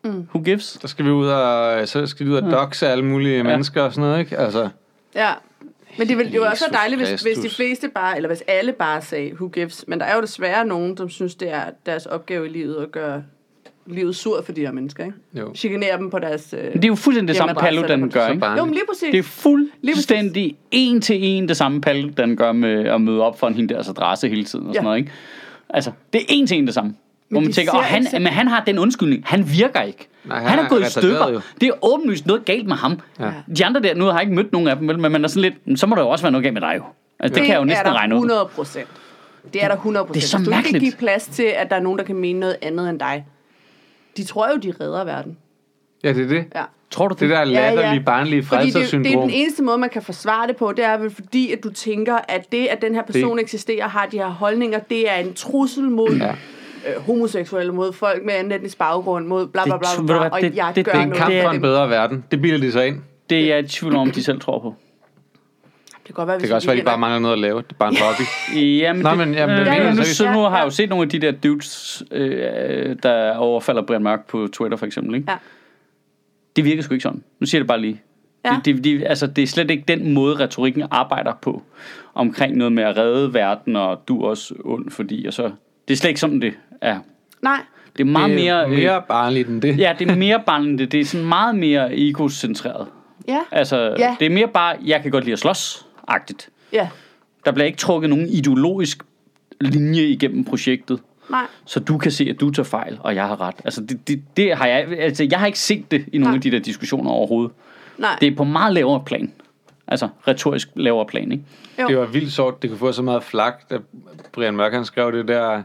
mm. who gives?
Så skal vi ud og, så skal vi
Mm.
ud og doxe alle mulige ja. mennesker og sådan noget, ikke? Altså,
Ja. Men det ville jo også
Jesus
være dejligt, hvis, hvis de
Kristus.
fleste bare, eller hvis alle bare sagde, who gives. Men der er jo desværre nogen, som synes, det er deres opgave i livet at gøre livet sur for de her mennesker, ikke?
Jo.
Chikanere dem på deres... Øh,
Men det er jo fuldstændig det samme
Jamen, adresse
Paludan
eller-
gør,
så
ikke?
barnligt.
jo, men lige præcis.
Det er
Lige præcis.
fuldstændig en til en det samme Paludan gør med at møde op for en hende deres adresse hele tiden og sådan
Ja.
noget, ikke? Altså, det er en til en det samme. Hvor man
de
tænker,
ser altså
og han,
ikke selv-
men han har den undskyldning. Han virker ikke.
Nej,
han,
han
han er
er
gået i
retarderet
stykker.
jo.
Det er åbenlyst noget galt med ham.
Ja.
De andre der, nu har jeg ikke mødt nogen af dem, vel, men man er sådan lidt, "Men så må der jo også være noget galt med dig jo. Altså, det, det kan jeg jo næsten regne ud.
Det er der 100 procent. Det er der 100 procent.
Det er så
Hvis du ikke
mærkeligt.
kan give plads til, at der er nogen, der kan mene noget andet end dig. De tror jo, de redder verden.
Ja, det er det.
Ja.
Tror du
Det der latterlige, ja, ja. barnlige
Fordi det, det er
frelsersyndrom.
den eneste måde, man kan forsvare det på, det er vel fordi, at du tænker, at det, at den her person
Det-
det. eksisterer og har de her holdninger, det er en trussel mod
Ja.
ja. øh, homoseksuelle, mod folk med anden etnisk baggrund, mod bla bla
Det
bla,
tr-
bla,
ved du
bla
hvad,
og
det-
jeg
det-
gør
Det er en
noget
kamp
Det er
for
for
en
dem.
bedre verden. Det bilder de sig ind.
Det er jeg i tvivl om, de selv tror på.
Det kan godt være,
Det kan også være, de bare mangler noget at lave. Det er bare en hobby.
Jamen,
Nå,
det,
men, jamen, det
øh,
mener jeg
nu,
seriøst.
så nu har
Ja,
jeg jo
ja.
set nogle af de der dudes, øh, der overfalder Brian Mørk på Twitter for eksempel. Ikke?
Ja.
Det virker sgu ikke sådan. Nu siger jeg det bare lige.
Ja.
Det, det, det, altså, det er slet ikke den måde, retorikken arbejder på omkring noget med at redde verden, og du er også ond, fordi... Og så, det er slet ikke sådan, det er.
Nej,
Det er meget
Det
mere...
er
øh,
mere barnligt end det.
Ja, det er mere barnligt. Det er sådan meget mere egocentreret.
ja,
Altså,
Ja.
det er mere bare, jeg kan godt lide at slås-agtigt.
ja,
Der bliver ikke trukket nogen ideologisk linje igennem projektet,
nej.
så du kan se, at du tager fejl, og jeg har ret. Altså, det, det, det har jeg, altså, jeg har ikke set det i nogle
Nej.
af de der diskussioner overhovedet.
Nej,
Det er på meget lavere plan. Altså, retorisk lavere plan, ikke?
Jo.
Det var vildt sjovt, det kunne få så meget flak, da Brian Mørk han skrev det der,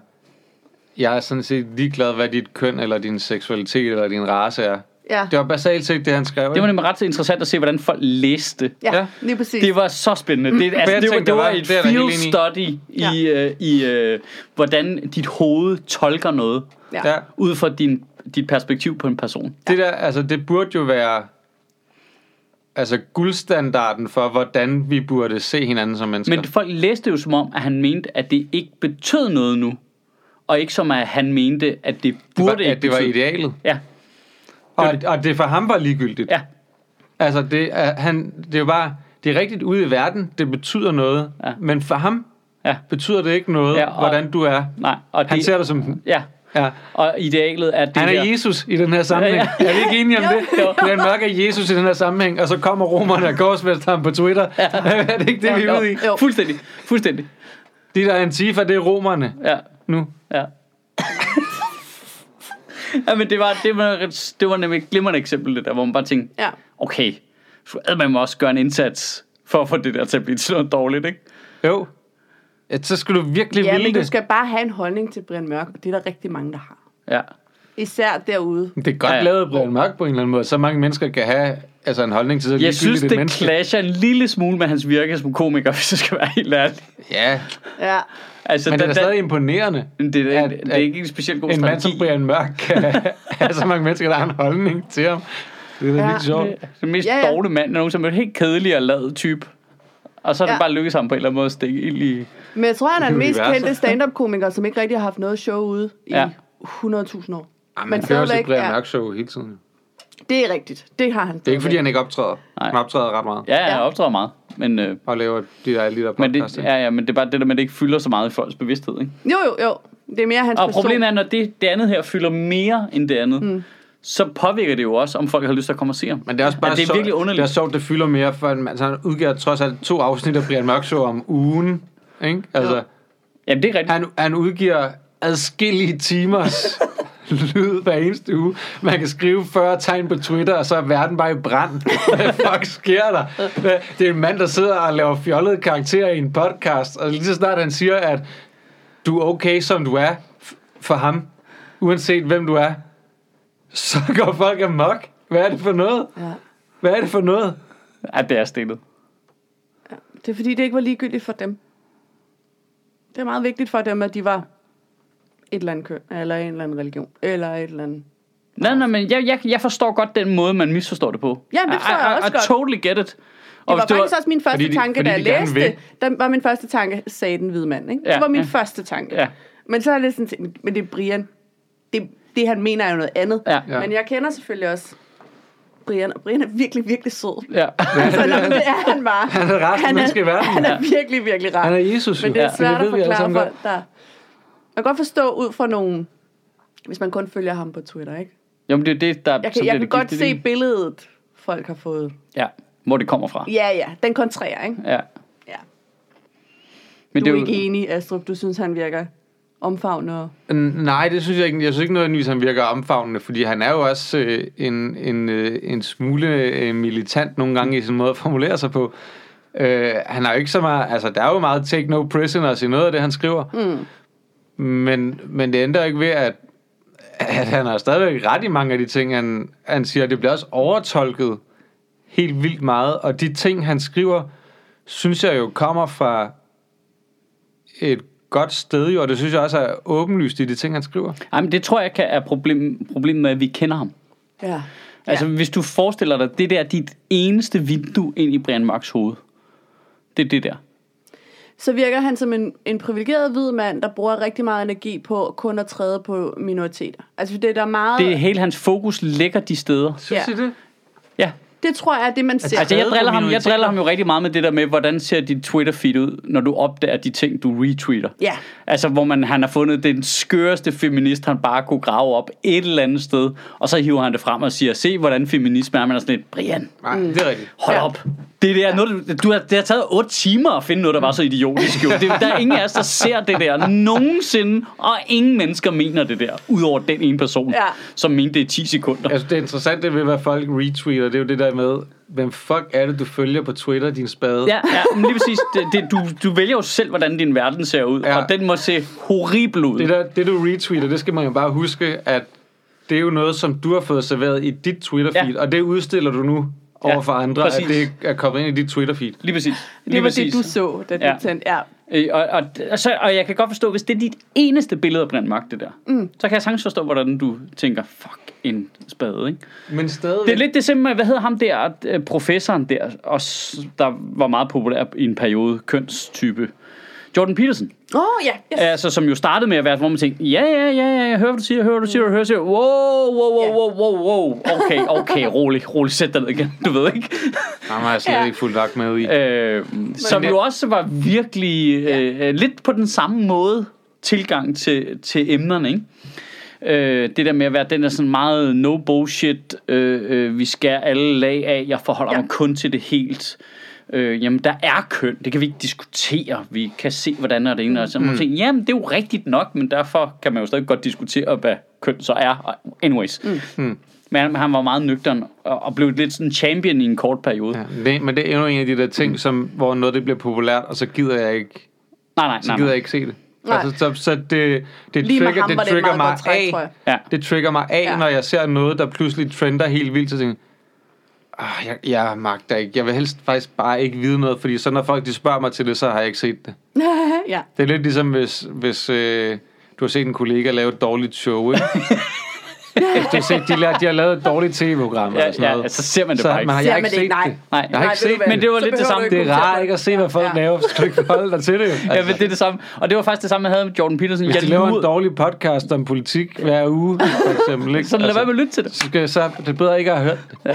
jeg er sådan set ligeglad, hvad dit køn, eller din seksualitet, eller din race er.
Ja.
Det var basalt set det, han skrev.
Det var
ikke?
nemlig ret interessant at se, hvordan folk læste det.
ja,
Ja.
lige præcis.
Det var så spændende. Det, altså, det, var,
tænkte,
det var
der var-
et
det er Mm. jeg da
field
helt
study i, øh, i øh, hvordan dit hoved tolker noget,
ja.
ja.
ud fra din, dit perspektiv på en person.
Det der, altså det burde jo være altså guldstandarden for, hvordan vi burde se hinanden som mennesker.
Men folk læste jo som om, at han mente, at det ikke betød noget nu. Og ikke som, at han mente, at det
det
burde
var,
ikke
at det var
betyde-
idealet.
Ja,
Og, og det for ham var ligegyldigt.
ja.
Altså, det er, han, det er jo bare, det er rigtigt ude i verden, det betyder noget.
Ja.
Men for ham
Ja.
betyder det ikke noget,
Ja, og-
hvordan du er.
Nej, og
Han
det,
ser dig som...
Ja,
Ja.
og idealet er det
Han
der.
er Jesus i den her sammenhæng.
Ja,
Ja, ja. Er vi ikke enige om det?
Jo.
Brian Mørk er Jesus i den her sammenhæng, og så kommer romerne og korsfester ham på Twitter. Ja. [LAUGHS] er det ikke det, vi er ude i?
Jo, fuldstændig, fuldstændig.
De der antifa, det er romerne
Ja,
nu.
ja. [LAUGHS] ja, men det var, det, var, det var nemlig et glimrende eksempel, det der, hvor man bare tænkte,
Ja.
okay, så man må også gøre en indsats for at få det der til at blive sådan noget dårligt, ikke?
Jo. Ja, så skulle du virkelig
ja,
ville
men du
det.
skal bare have en holdning til Brian Mørk, og det er der rigtig mange, der har.
Ja.
Især derude.
Det er godt
Ja, ja.
lavet, Brian Mørk, på en eller anden måde. Så mange mennesker kan have altså en holdning til så
Jeg synes,
ligegyldigt et
det
menneske.
clasher en lille smule med hans virke som komiker, [LAUGHS] hvis jeg skal være helt ærlig.
Ja,
Ja.
Altså,
men det er da
den-
stadig imponerende.
den- det, er,
at-
det, det er
at
ikke en specielt god
en mand som
strategi.
Brian Mørk kan have [LAUGHS] så mange mennesker, der har en holdning til ham. Det er da
Ja.
vildt sjovt.
Det er Den mest
Ja,
ja,
ja.
ja. dårlige mand, jeg nogensinde har mødt. Helt kedelig og lad type. Og så er ja.
Ja.
det bare lykkedes ham på en eller anden måde at stikke ild i...
Men jeg tror, han er den mest
Universet.
kendte stand-up-komiker, som ikke rigtig har haft noget show ude i
Ja.
100.000 år.
Jamen,
Men
man kører sit
stadigvæk
Brian
er-
Mørk show hele tiden. Det
Det er rigtigt. Det har han.
er ikke, fordi han ikke optræder.
Nej.
Han optræder ret meget.
Ja, jeg
Ja.
ja. optræder meget. Men, øh,
Og laver de der, alle de der
men,
podcast.
det, ja, ja, men det er bare det der med, at det ikke fylder så meget i folks bevidsthed. Ikke?
Jo, jo, jo. Det er mere hans
Og
person.
problemet er, når det, det andet her fylder mere end det andet, mm. så påvirker det jo også, om folk har lyst til at komme og se ham.
Men det er også bare
Ja, det er
sjovt-
virkelig underligt.
Det er sjovt, det fylder mere, for en, altså, han udgiver trods alt to afsnit af Brian Mørk Show om ugen. Ikke? Altså,
Jo.
Jamen, det er rigtigt.
han, han udgiver adskillige timers lyd hver eneste uge. Man kan skrive 40 tegn på Twitter, og så er verden bare i brand. Hvad fuck sker der? Hvad- Det er en mand, der sidder og laver fjollede karakterer i en podcast, og lige så snart han siger, at du er okay, som du er f- for ham, uanset hvem du er, så går folk amok. Hvad er det for noget?
Ja.
Hvad er det for noget?
Ja, det er stillet.
Det er fordi, det ikke var ligegyldigt for dem. Det er meget vigtigt for dem, at de var et eller andet køn, eller en eller anden religion, eller et eller andet.
Nej, nej, men jeg, jeg, jeg forstår godt den måde, man misforstår det på.
Ja, det forstår
I, I,
jeg også
I
godt.
totally get it.
Det
Og
var
hvis du
faktisk også min første
fordi de-
tanke,
fordi
da jeg
de gerne
læste
vil.
det. Der var min første tanke, sagde den hvide mand. Ikke? Ja,
Ja,
det var min
ja.
første tanke.
Ja.
Men så er det sådan, tænkt, men det er Brian. Det, det han mener er jo noget andet.
Ja.
Ja.
Men jeg kender selvfølgelig også Brian, og Brian er virkelig, virkelig sød.
Ja.
[LAUGHS] Altså, nå, men det er han bare.
Han er resten
Han
af
er-
menneske i verden.
Han er virkelig, virkelig rar.
Han er Jesus, jo.
Men det er
Ja.
svært
ved
at
vi alle
forklare
sammen godt.
folk, der... Man kan godt forstå ud fra nogen, hvis man kun følger ham på Twitter, ikke?
Jamen, det er det, der...
Jeg
så
kan,
bliver
jeg kan
det
godt
giftigt,
se
ikke?
billedet, folk har fået.
Ja, hvor det kommer fra.
Ja, ja, den kontrærer, ikke?
Ja.
Ja.
Men
Du
det
er
jo-
ikke enig, Astrup. Du synes, han virker omfavnende. og-
N- Nej, det synes jeg ikke. Jeg synes ikke nødvendigvis, han virker omfavnende, fordi han er jo også øh, en, en, øh, en smule øh, militant nogle gange i sin måde at formulere sig på. Øh, han har jo ikke så meget... Altså, der er jo meget take no prisoners i noget af det, han skriver. Mm. Men, men det ændrer ikke ved, at, at han har stadigvæk ret i mange af de ting, han, han siger. Det bliver også overtolket helt vildt meget. Og de ting, han skriver, synes jeg jo kommer fra et godt sted jo, og det synes jeg også er åbenlyst i de ting, han skriver.
Ej, men det tror jeg kan er problem, problemet med, at vi kender ham.
Ja.
Altså, hvis du forestiller dig, det der er dit eneste vindue ind i Brian Mørks hoved. Det er det der.
Så virker han som en, en privilegeret hvid mand, der bruger rigtig meget energi på kun at træde på minoriteter. Altså, for det er der meget...
Det er hele hans fokus ligger de steder.
Synes
Ja.
I det?
Ja.
det tror jeg er det, man ser.
Altså, jeg
Træde på
driller, ham, jeg
minoriteter.
driller ham jo rigtig meget med det der med, hvordan ser dit Twitter-feed ud, når du opdager de ting, du retweeter.
Ja.
Altså, hvor man, han har fundet den skøreste feminist, han bare kunne grave op et eller andet sted, og så hiver han det frem og siger, se hvordan feminisme er, man er sådan lidt, Brian,
Nej, mm. det er rigtigt.
Hold
Ja.
ja. op. Det, der, noget, du- du har, det har taget 8 timer at finde noget, der var så idiotisk. Jo. Det, der er ingen af os, der ser det der nogensinde, og ingen mennesker mener det der, udover den ene person,
Ja.
ja. som mente det i 10 sekunder.
Altså, det interessante ved, hvad folk retweeter, det er jo det der med, hvem fuck er det, du følger på Twitter, din spade?
Ja, ja men lige præcis. Det, det, du, du vælger jo selv, hvordan din verden ser ud,
Ja.
ja. og den må se horribel ud.
Det, der, det, du retweeter, det skal man jo bare huske, at det er jo noget, som du har fået serveret i dit Twitter-feed, ja.
Ja.
og det udstiller du nu over
Ja,
for andre,
præcis.
at det er kommet ind i dit Twitter-feed.
Lige præcis. Lige
det var det,
præcis.
du så, da du ja.
Ja.
tændte. Ja.
Øh, Og, og, og, så, og jeg kan godt forstå, hvis det er dit eneste billede af Brian Mark, det der, mm. så kan jeg sagtens forstå, hvordan du tænker, fuck en spade, ikke?
Men stadigvæk...
Det er lidt det samme med, hvad hedder ham der, øh, professoren der, også, der var meget populær i en periode, kønstype. Jordan Peterson,
Åh, oh, [LAUGHS] ja. Yes.
altså, som jo startede med at være, hvor man tænkte, ja, ja, ja, ja, jeg hører, hvad du siger, jeg hører, hvad du siger, jeg hører, hvad du siger, wow, wow, wow, wow, wow, wow, okay, okay, rolig, rolig, sæt dig ned igen, du ved ikke.
Nej, man har altså, jeg slet
Ja.
ikke fuldt nok med i.
Øh, som
Men-
jo også var virkelig øh, øh, lidt på den samme måde tilgang til, til emnerne, ikke? Øh, det der med at være den der sådan meget no bullshit, øh, øh, vi skærer alle lag af, jeg forholder
Ja.
ja. mig kun til det helt. Øh, jamen, der er køn, det kan vi ikke diskutere, vi kan se, hvordan er det ene. Og så mm. tænker, jamen, det er jo rigtigt nok, men derfor kan man jo stadig godt diskutere, hvad køn så er. Og Anyways. Mm. Men han, han var meget nøgteren og, og blev lidt sådan en champion i en kort periode. Ja.
Ja, det, Øh, men det er endnu en af de der ting, som, hvor noget det bliver populært, og så gider jeg ikke
Nej, nej,
så
nej.
gider
nej.
jeg ikke se det.
Nej.
Altså, så, så det, det
Lige med
trigger,
ham var
det
det et
trigger
meget
mig
godt træk, tror jeg.
af.
Ja.
Det trigger mig af,
Ja.
ja. når jeg ser noget, der pludselig trender helt vildt, så tænker jeg, Ah, jeg, jeg magter ikke. Jeg vil helst faktisk bare ikke vide noget, fordi så når folk de spørger mig til det, så har jeg ikke set det.
ja.
Det er lidt ligesom, hvis, hvis øh, du har set en kollega lave et dårligt show,
[LAUGHS]
ikke? Hvis du har set, de, la- de har lavet et dårligt tv-program
Ja,
eller sådan
ja, altså,
noget.
så ser man det
så
bare
man
ikke.
har
Ser
jeg ikke
man det
set
ikke? Nej.
det.
Nej,
Jeg har ikke
Nej, ved
set
du hvad?
Men
det var
Så
lidt det
behøver
samme.
du
Det er rart ikke at se, hvad folk
Ja.
laver, så skal du ikke forholde dig til det. jo. Altså,
Ja, men det er det samme. Og det var faktisk det samme, jeg havde med Jordan Peterson.
hvis
jeg
de laver en
lurede-
dårlig podcast om politik hver uge, for eksempel, [LAUGHS] ikke? Altså,
Så lad være med at lytte til det.
så, skal, så det er bedre ikke at have hørt det.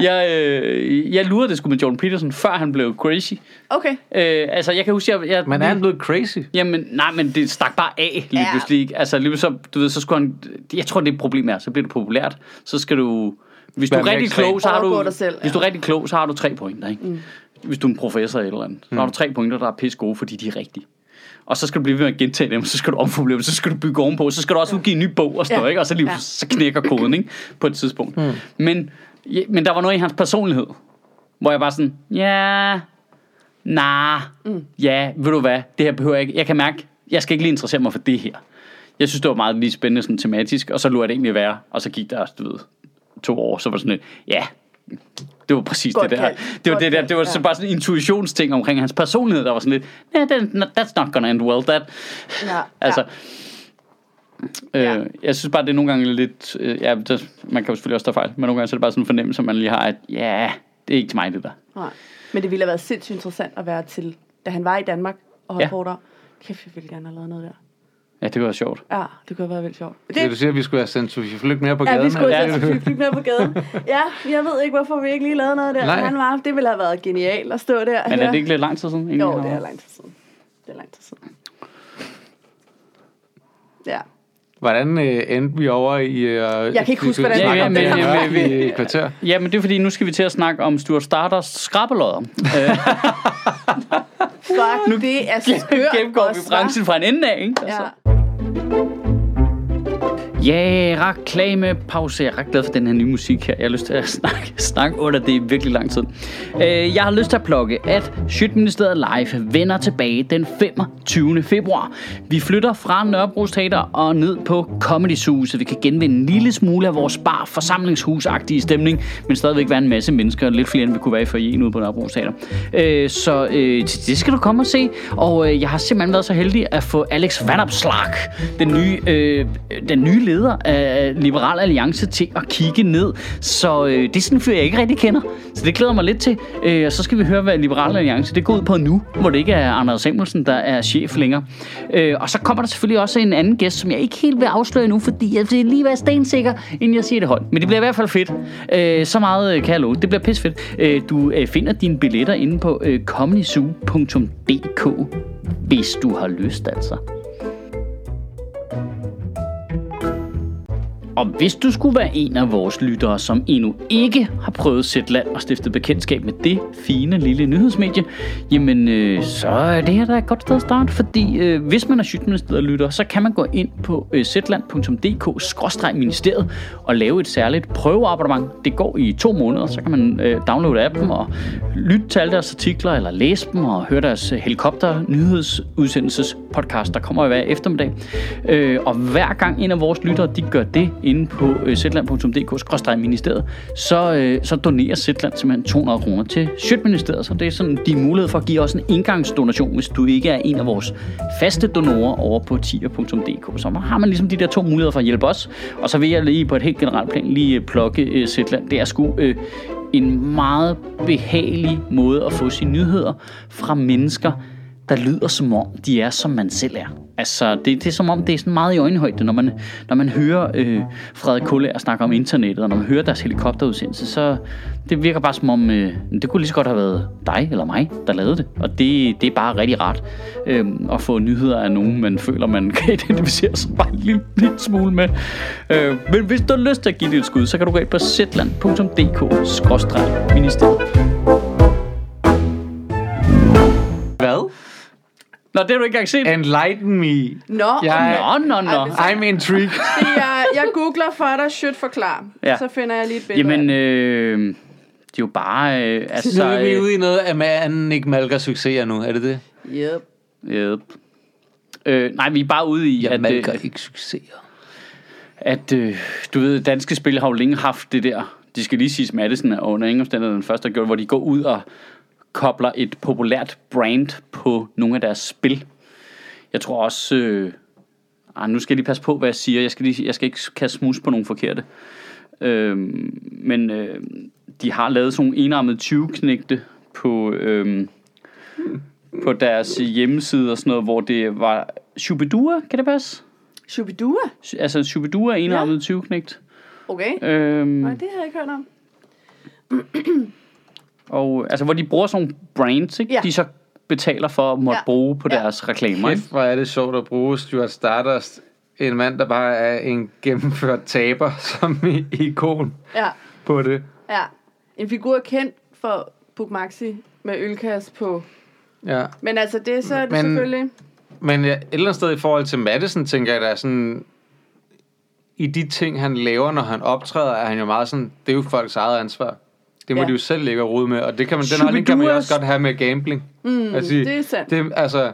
Jeg, øh, jeg lurede det sgu med Jordan Peterson, før han blev crazy.
Okay.
Øh, altså, jeg kan huske, jeg... jeg
Men er han blevet crazy?
Jamen, nej, men det stak bare af lige ja.
Ja.
pludselig. ikke? Altså, lige så, du ved, så skulle han... Jeg tror, det er et problem er, så bliver det populært. Så skal du... Hvis du
Vær
er
mere
rigtig
ekstrem.
klog, så har
Overgå
du...
dig selv,
Hvis du er
ja.
rigtig klog, så har du tre pointer, ikke? Mm. Hvis du er en professor eller et eller andet, så har du tre pointer, der er pisse gode, fordi de er rigtige. Og så skal du blive ved med at gentage dem, så skal du omformulere dem, så skal du bygge ovenpå, så skal du også udgive en ny bog og sådan
Ja.
noget, ikke? Og så, lige,
Ja.
så knækker koden, ikke? På et tidspunkt. Mm. Men, ja, men der var noget i hans personlighed, hvor jeg bare sådan, ja, nah, mm. ja, ved du hvad, det her behøver jeg ikke. Jeg kan mærke, jeg skal ikke lige interessere mig for det her. Jeg synes, det var meget lige spændende sådan tematisk, og så lå jeg det egentlig være, og så gik der, du ved, to år, så var det sådan et, ja, det var præcis
Godt
det der.
kaldt.
Det var
Godt
det der,
kaldt,
det var
ja.
så bare sådan en intuitionsting omkring hans personlighed, der var sådan lidt, yeah, that's not gonna end well, that.
Ja.
Altså,
Ja.
øh, jeg synes bare, det er nogle gange lidt, øh, ja, det, man kan jo selvfølgelig også tage fejl, men nogle gange så er det bare sådan en fornemmelse, man lige har, at ja, yeah, det er ikke til mig, det der.
Nej. Men det ville have været sindssygt interessant at være til, da han var i Danmark og holdt
Ja.
ja. foredrag. Kæft, jeg ville gerne have lavet noget der.
Ja, det var sjovt.
Ja, det kunne have været vildt sjovt.
Det, du siger, at vi skulle have sendt Sofie Flygt mere på gaden.
Ja, vi skulle
eller?
Ja.
ja. flyve med på gaden. Ja, jeg ved ikke, hvorfor vi ikke lige lavede noget der.
Nej.
Nej. Han var, det ville have været genialt at stå der. og
Men er
høre.
det ikke lidt lang tid siden? egentlig,
Jo,
han
det
var?
er lang tid siden. Det er lang tid siden. Ja.
Hvordan øh, endte vi over i... Øh, jeg
kan ikke huske, hvordan
det
det
var. Ja, men-
var.
men-
i et kvarter.
Ja, men det er fordi, nu skal vi til at snakke om Stuart Stardust skrabbelodder. Øh,
Fuck, nu, det er skørt.
gennemgår vi altså.
også, hva'?
branchen fra en ende af, ikke?
Ja.
Ja, reklamepause. Jeg er ret glad for den her nye musik her. Jeg har lyst til at snakke, snakke under det i virkelig lang tid. Øh, Jeg har lyst til at plukke, at Sjøtministeriet Live vender tilbage den 25. februar. Vi flytter fra Nørrebro Teater og ned på Comedy Zoo, så vi kan genvinde en lille smule af vores bar forsamlingshusagtige stemning, men stadigvæk være en masse mennesker, lidt flere end vi kunne være i forjen ude på Nørrebro Teater. Øh, Så øh, til det skal du komme og se, og øh, jeg har simpelthen været så heldig at få Alex Vanopslag, den nye, øh, den nye leder af Liberal Alliance, til at kigge ned. Så øh, det er sådan en fyr, jeg ikke rigtig kender. Så det glæder mig lidt til. Øh, og så skal vi høre, hvad Liberal Alliance det går ud på nu, hvor det ikke er Anders Samuelsen, der er chef længere. Øh, og så kommer der selvfølgelig også en anden gæst, som jeg ikke helt vil afsløre nu, fordi jeg vil lige være stensikker, inden jeg siger det højt. Men det bliver i hvert fald fedt. Øh, så meget øh, kan jeg love. Det bliver pissfedt. Øh, du øh, finder dine billetter inde på øh, comedyzoo.dk, hvis du har lyst altså. Og hvis du skulle være en af vores lyttere, som endnu ikke har prøvet Zetland og stiftet bekendtskab med det fine lille nyhedsmedie, jamen øh, så er det her da et godt sted at starte, fordi øh, hvis man er Sjøtministeriet lytter, så kan man gå ind på øh, zetland.dk-ministeriet og lave et særligt prøveabonnement. Det går i to måneder, så kan man øh, downloade appen og lytte til alle deres artikler, eller læse dem og høre deres øh, helikopter nyhedsudsendelses podcast, der kommer hver eftermiddag. Øh, og hver gang en af vores lyttere, de gør det inde på øh, zetland.dk-ministeriet, så, øh, så donerer Zetland simpelthen 200 kroner til Sjøtministeriet. Så det er sådan din mulighed for at give os en engangsdonation, hvis du ikke er en af vores faste donorer over på tier.dk. Så har man ligesom de der to muligheder for at hjælpe os. Og så vil jeg lige på et helt generelt plan lige øh, plukke øh, Zetland. Det er sgu øh, en meget behagelig måde at få sine nyheder fra mennesker, der lyder som om, de er, som man selv er. Altså, det, det er som om, det er sådan meget i øjenhøjde, når man, når man hører øh, Frederik Kuller snakke om internettet, og når man hører deres helikopterudsendelse, så det virker bare som om, øh, det kunne lige så godt have været dig eller mig, der lavede det. Og det, det er bare rigtig rart øh, at få nyheder af nogen, man føler, man [LAUGHS] kan identificere sig bare en lille, lille smule med. Øh, men hvis du har lyst til at give det et skud, så kan du gå ind på zetland.dk-ministeriet.
Hvad?
Nå, det har du ikke engang set.
Enlighten me.
Nå,
Jeg-
Nå, nå, nå.
I'm [LAUGHS] intrigued.
det, jeg, jeg googler for dig, shit forklar.
Ja.
Ja. Så finder jeg lige et billede.
Jamen, øh, det er jo bare... Øh,
Så
altså,
er vi
øh,
ude i noget af med anden ikke malker succeser nu, er det det?
af det. Yep.
yep. øh, nej, vi er bare ude i,
Jeg
at, øh,
malker ikke succeser.
at øh, du ved, danske spil har jo længe haft det der de skal lige sige, at Madison er under ingen omstændigheder den første, der gjorde det, hvor de går ud og kobler et populært brand på nogle af deres spil. Jeg tror også... Øh, ah, nu skal jeg lige passe på, hvad jeg siger. Jeg skal, lige, jeg skal ikke kaste smus på nogen forkerte. Øhm, men øh, de har lavet sådan nogle enarmede 20-knægte på, øhm, på deres hjemmeside og sådan noget, hvor det var Shubidua, kan det passe?
Shubidua?
Sh- Altså Shubidua er enarmet ja. 20-knægt.
Okay.
Øhm,
Nej, det havde jeg ikke hørt om.
og, altså, hvor de bruger sådan nogle brands, ikke?
Ja.
Ja. de så betaler for at måtte
Ja.
ja. bruge på
Ja.
ja. deres reklamer. Ikke?
Kæft, hvor er det sjovt at bruge Stuart Stardust. En mand, der bare er en gennemført taber som i- ikon
Ja,
på det.
ja. En figur kendt for Bugmaxi med ølkasse på.
Ja.
Men altså, det er så Men...
Men-
selvfølgelig...
Men jeg, et eller andet sted i forhold til Madison, tænker jeg, der er sådan... I de ting, han laver, når han optræder, er han jo meget sådan... Det er jo folks eget ansvar. Det må
Ja.
ja. de jo selv ligge og rode med. Og det kan man, den holdning kan man jo
Shubiduas.
også godt have med gambling. Mm, altså,
det er sandt.
Det, altså,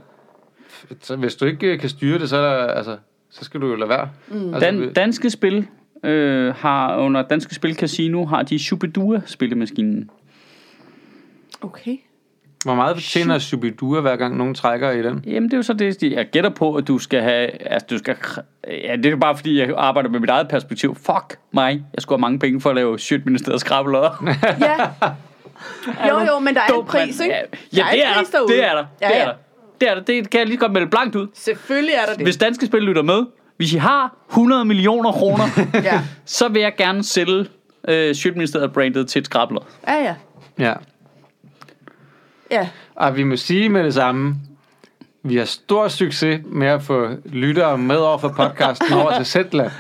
så hvis du ikke øh, kan styre det, så, er der, altså, så skal du jo lade være. Mm. Altså,
Dan, danske spil øh, har under Danske Spil Casino har de Shubidua spillemaskinen.
Okay.
hvor meget tjener Subidua, hver gang nogen trækker i den?
Jamen det er jo så det, de- jeg gætter på, at du skal have, altså du skal, kr- ja det er bare fordi, jeg arbejder med mit eget perspektiv. Fuck mig, jeg skulle have mange penge for at lave shitministeriet skrabbelodder. [LAUGHS]
Ja. Jo, jo, men der er en
Dumt, mand.
pris, ikke?
Ja, ja
Der
det,
en
er
pris
der,
derude.
det er der,
Ja,
det er
ja.
der. Det er der, det kan jeg lige godt melde blankt ud.
Selvfølgelig er der det.
Hvis danske spil lytter med, hvis I har 100 millioner kroner,
Ja,
så vil jeg gerne sælge øh, Sjøtministeriet brandet til et skrabler.
ja, ja.
Ja.
ja.
Og vi må sige med det samme, vi har stor succes med at få lyttere med over for podcasten over til Zetland.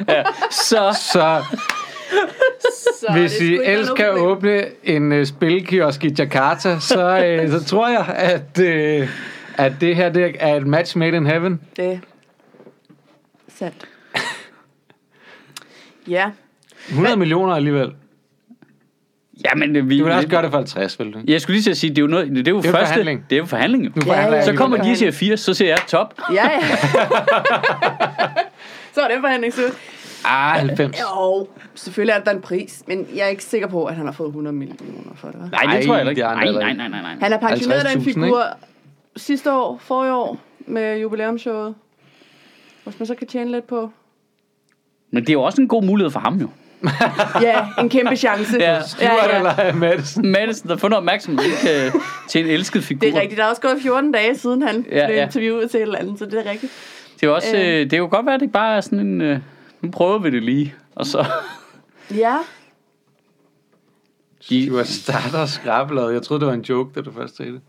Så
Så
Så
hvis
det
I
skulle ikke være
ellers
noget
kan
problem.
åbne en uh, spilkiosk i Jakarta, så,
[LAUGHS]
uh, så tror jeg, at, uh, at det her det er et match made in heaven.
Det er sandt. [LAUGHS] ja.
100 millioner alligevel.
jamen øh, vi
Du vil også gøre det for 50, vil du? ikke?
Jeg skulle lige til at sige, det er jo, noget, det er jo
er jo
første,
forhandling.
Det er jo forhandling. jo.
Nu
Ja,
forhandler
ja.
jeg
Så
alligevel.
kommer de og siger 80, så siger jeg top.
Ja, ja. [LAUGHS] så er den forhandling slut.
Ah, 90.
Jo, selvfølgelig er der en pris, men jeg er ikke sikker på, at han har fået 100 millioner for det.
Nej,
hva'?
Ej,
det tror jeg da ikke.
det er
Nej,
andre, der
nej,
ikke.
nej, nej, nej.
Han er pensioneret den
50.000,
figur sidste år, forrige år, med jubilæumshowet. Hvis man så kan tjene lidt på...
Men det er jo også en god mulighed for ham jo.
Ja, en kæmpe chance.
Ja.
ja,
Stuart
ja.
eller Madison.
Madison, der får noget opmærksomhed øh, til en elsket figur.
Det er rigtigt. Der er også gået 14 dage, siden han ja,
Ja,
blev
ja.
interviewet til et eller andet, så det er rigtigt.
Det er jo også, øh, det er jo godt være, at det bare er sådan en... Øh, nu prøver vi det lige. Og så...
Ja,
Du har starter skrablet. Jeg troede, det var en joke, da du først sagde det.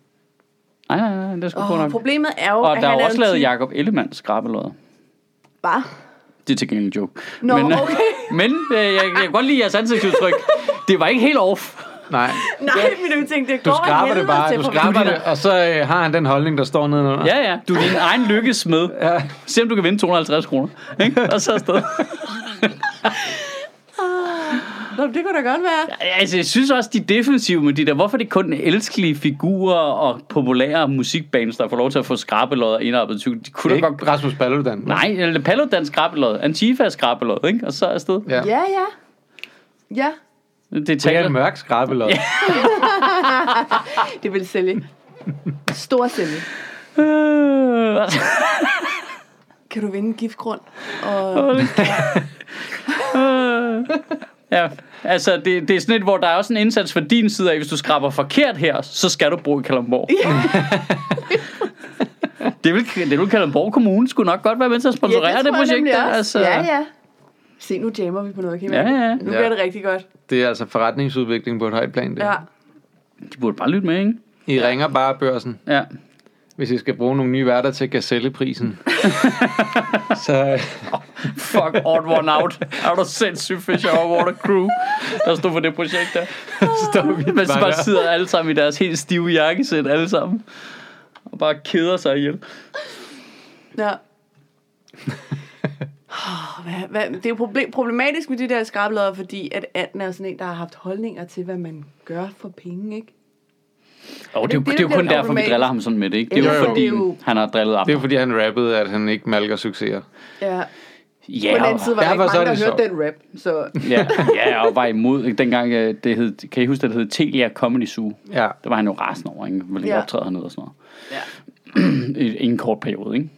Nej, nej, nej, det er sgu oh,
og
nok.
problemet er jo,
Og
at
der
han
er også
jo en
lavet
type-
Jacob Ellemann skrabelodder.
[LAUGHS] Hva?
Det er til gengæld en joke.
Nå,
men, øh,
okay.
[LAUGHS] men øh, jeg, jeg kan godt lide jeres ansigtsudtryk. Det var ikke helt off.
Nej,
Nej, men du tænkte, det går
du
af
skraber
helvede
det bare.
til
Du
for-
skraber det, og så øh, har han den holdning, der står nedenunder.
Ja, ja. Du er din egen lykkesmed.
ja.
Se om du kan vinde 250 kroner. Ikke? Og så afsted.
Nå, det kunne da godt være.
Altså, jeg synes også, de er defensive med de der. Hvorfor er det kun elskelige figurer og populære musikbands, der får lov til at få skrabelodder indarbetet i cykel? De kunne da
Det er
godt...
ikke Rasmus Paludan.
Nej, eller Paludan skrabelod, Antifa skrabelod, ikke? Og så afsted.
Ja.
Ja, ja. Ja,
Det
Det er en
taler.
mørk skrabelod. Ja.
det vil [LAUGHS] sælge. Stor sælge.
Øh,
Kan du vinde en giftgrund? Og
ja, altså, det, det er sådan et, hvor der er også en indsats fra din side af, hvis du skraber forkert her, så skal du bo i Kalamborg. [LAUGHS] det, vil, det vil Kalamborg Kommune skulle nok godt være med til at sponsorere det,
tror jeg
projekt.
nemlig
der,
også.
altså.
Ja, ja. Se, nu jammer vi på noget, Kim.
Ja, ja.
Nu
Ja.
bliver det rigtig godt.
Det er altså forretningsudvikling på et højt plan. Det.
Ja.
De burde bare lytte med, ikke?
I ringer bare børsen,
Ja.
hvis I skal bruge nogle nye værter til gazelleprisen. så [LAUGHS]
Fuck, odd one out. Er du sindssygt Fisher Water Crew, der stod for det projekt der.
står vi
Men så
bare
bare
der.
sidder alle sammen i deres helt stive jakkesæt, alle sammen. Og bare keder sig ihjel.
ja. Åh, Hvad, hvad, det er jo problem, problematisk med de der skrablader, fordi at Anden er sådan en, der har haft holdninger til, hvad man gør for penge, ikke?
Og det, er jo-
det, der
det, er jo
bliver
kun derfor, vi
problematisk?
driller ham sådan med det, ikke? Det er jo,
Jo, jo.
fordi,
Det er jo-
han har drillet op.
Det er jo fordi, han rappede, at han ikke malker succeser.
Ja.
Ja,
På den anden
og-
side var
Ja,
der
hvor
ikke
så er
mange, der
det
hørte den rap. Så
ja, ja, og var imod. Ikke? Dengang, øh, det hed, kan I huske, det hed Telia Comedy Zoo?
Ja.
Der var han jo rasende over, ikke? hvor længe
Ja.
ja. optræder han og sådan
ja.
noget. [CLEARS THROAT] I, I en kort periode, ikke?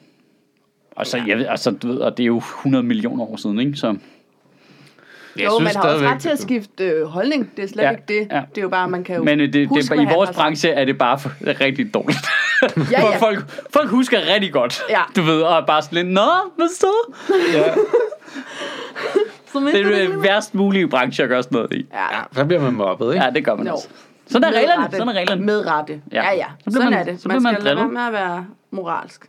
Og så, jeg ved, altså, du ved, og det er jo 100 millioner år siden, ikke? Så,
Jeg synes
jo, man har også
stadigvæk,
ret til at skifte øh, holdning. Det er slet
Ja,
ja, ikke det.
ja.
Ja. Det er jo bare, man kan jo
men øh, det, det,
huske,
i
hvad han
vores
har sagt.
branche er det bare for, rigtig dårligt.
[LAUGHS] Ja,
For
ja.
Folk, folk husker rigtig godt,
Ja.
du ved, og er bare sådan lidt, Nå, hvad så?
Ja.
Det
Så
er
mister
jo øh,
du
det
hele-
værst mulige branche at gøre sådan noget i.
Ja,
ja, så bliver man mobbet, ikke?
Ja, det gør man
Jo.
også. Sådan er
Med
reglerne,
rette.
sådan er reglerne.
Med rette.
Ja.
Ja, ja.
Så bliver
sådan
man-
er det.
så bliver man
skal lade være
drillet.
med at være moralsk.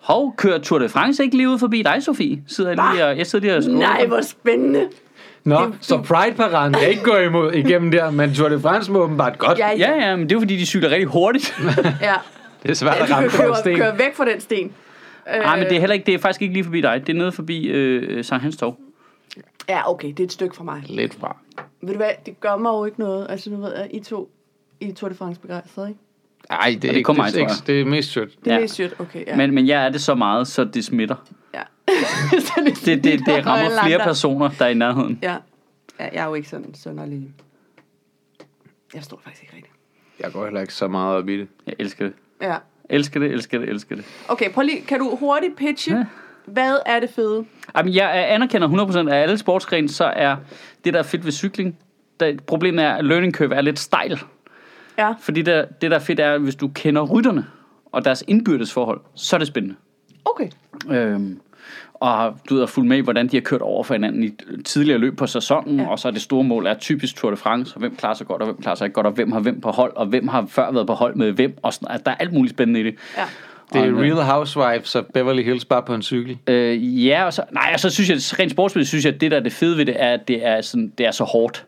Hov, kører Tour de France ikke lige ud forbi dig, Sofie? Sidder jeg lige og, jeg sidder lige og scroller.
Nej, hvor spændende.
Nå, så Pride-paraden kan ikke gå imod igennem der, men Tour de France må åbenbart godt.
Ja, ja.
Ja, ja, men det er jo fordi, de cykler rigtig
[LAUGHS]
hurtigt.
Øh. ja.
Det er svært
ja
at
de
ramme
kan
på en
køre,
sten.
køre væk fra den sten. Øh,
Nej, men det er heller ikke, det er faktisk ikke lige forbi dig. Det er nede forbi øh, Sankt Hans Torv.
Ja, okay, det er et stykke fra mig.
Lidt fra.
Ved du hvad, det gør mig jo ikke noget. Altså, nu ved jeg, I to, I er Tour de France begejstret, ikke?
Nej, det, er
det
ikke-
kommer
det,
jeg,
er
tror
ikke- det er mest sødt.
Det er
Ja.
ja. mest sødt, okay. Ja.
Men, men jeg er det så meget, så det smitter.
ja. [LAUGHS]
Det, det, det rammer flere personer, der er i nærheden.
Ja. ja. Jeg er jo ikke sådan sønderlig. Jeg står faktisk ikke rigtigt.
Jeg går heller ikke så meget op i det.
Jeg elsker det.
Ja.
Elsker det, elsker det, elsker det.
Okay, prøv lige, kan du hurtigt pitche,
Ja.
ja. hvad er det fede?
Jamen, jeg anerkender 100% af alle sportsgrene, så er det, der er fedt ved cykling, der, problemet er, at learning curve er lidt stejl.
Ja.
Fordi der, det, der er fedt, er, at hvis du kender rytterne og deres indbyrdes forhold, så er det spændende.
Okay.
Øhm, og har- du ved, har fulgt med i, hvordan de har kørt over for hinanden i tidligere løb på sæsonen, ja.
Ja.
og så er det store mål er typisk Tour de France, og hvem klarer sig godt, og hvem klarer sig ikke godt, og hvem har hvem på hold, og hvem har før været på hold med hvem, og sådan, altså, der er alt muligt spændende i det.
Ja.
Det
Og,
er
øh,
Real Housewives og Beverly Hills bare på en cykel.
Øh, ja, og så, nej, og så synes jeg, rent sportsmæssigt synes jeg, at det der er det fede ved det, er, at det er, sådan, det er så hårdt.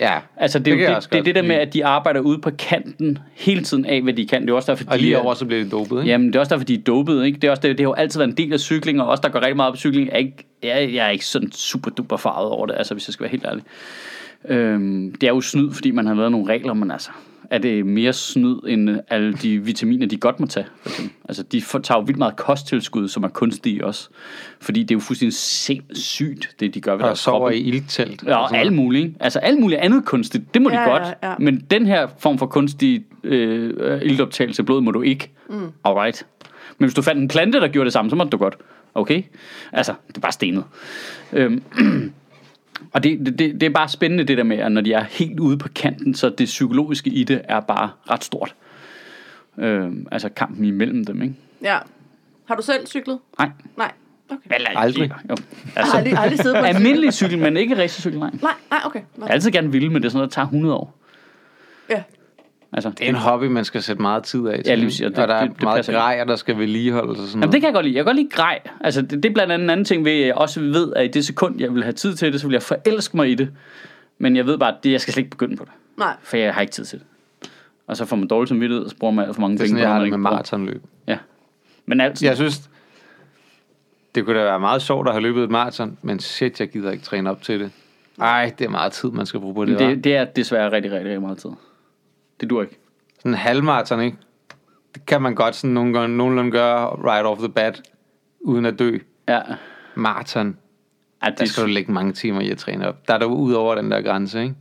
Ja,
Altså, det, det,
kan
er
jeg
jo
også
det, det, er
godt
det der med,
lide.
at de arbejder ude på kanten hele tiden af, hvad de kan. Det er også derfor,
Og
de
lige
er-
over, så bliver det dopet, ikke?
Jamen, det er også derfor, de er dopede, ikke? Det, er også, det, det har jo altid været en del af cykling, og også der går rigtig meget op i cykling. Jeg er ikke, jeg, jeg er ikke sådan super duper farvet over det, altså, hvis jeg skal være helt ærlig. Øhm, det er jo snyd, fordi man har lavet nogle regler, men altså, er det mere snyd end øh, alle de vitaminer, de godt må tage? For eksempel? Altså, de får, tager jo vildt meget kosttilskud, som er kunstige også. Fordi det er jo fuldstændig sindssygt, det de gør ved
Og
deres
sover
kroppe.
i ildtelt.
Ja,
og
og
sådan
alt
noget.
muligt. ikke? Altså alt muligt andet kunstigt, det må de
Ja,
godt.
ja, ja.
Men den her form for kunstig øh, øh, ildoptagelse af blod må du ikke. Mm. Alright. Men hvis du fandt en plante, der gjorde det samme, så måtte du godt. Okay? Altså, det er bare stenet. Øhm. [CLEARS THROAT] Og det, det, det det er bare spændende det der med, at når de er helt ude på kanten, så det psykologiske i det er bare ret stort. Øhm, altså kampen imellem dem, ikke?
Ja. Har du selv cyklet?
Nej.
Nej. Okay.
Eller,
Aldrig.
Jo.
Jeg har
Altså,
aldrig, aldrig
[LAUGHS]
siddet på en cykel.
almindelig cykel, men ikke racercykel, nej.
Nej, nej, okay. Nå.
Jeg har altid gerne ville, men det er sådan noget, der tager 100 år.
Ja.
Altså,
Det er en hobby, man skal sætte meget tid af til.
Ja, lige præcis, og
og
det-
der er
det- det
meget
passer ikke.
grejer, der skal vedligeholdes og sådan
Jamen,
noget.
det kan jeg godt lide. Jeg kan godt lide grej. Altså, det, det er blandt andet en anden ting ved, at jeg også ved, at i det sekund, jeg vil have tid til det, så vil jeg forelske mig i det. Men jeg ved bare, at det, jeg skal slet ikke begynde på det.
Nej.
For jeg har ikke tid til det. Og så får man dårlig samvittighed, og så bruger man alt for mange
Det er
penge
sådan, jeg
på
har
noget,
det med
man ikke
maratonløb.
bruger. Ja. Men altså, ja.
Jeg synes, det kunne da være meget sjovt at have løbet et maraton, men shit, jeg gider ikke træne op til det. Ej, det er meget tid, man skal bruge på det. det...
det, det er desværre rigtig, rigtig, rigtig meget tid. Det dur ikke.
Sådan en halvmaraton, ikke? Det kan man godt sådan nogle gange, nogenlunde gøre right off the bat, uden at dø.
Ja.
Maraton,
ja
der
det,
skal du lægge mange timer i at træne op. Der er der ud over den der grænse, ikke?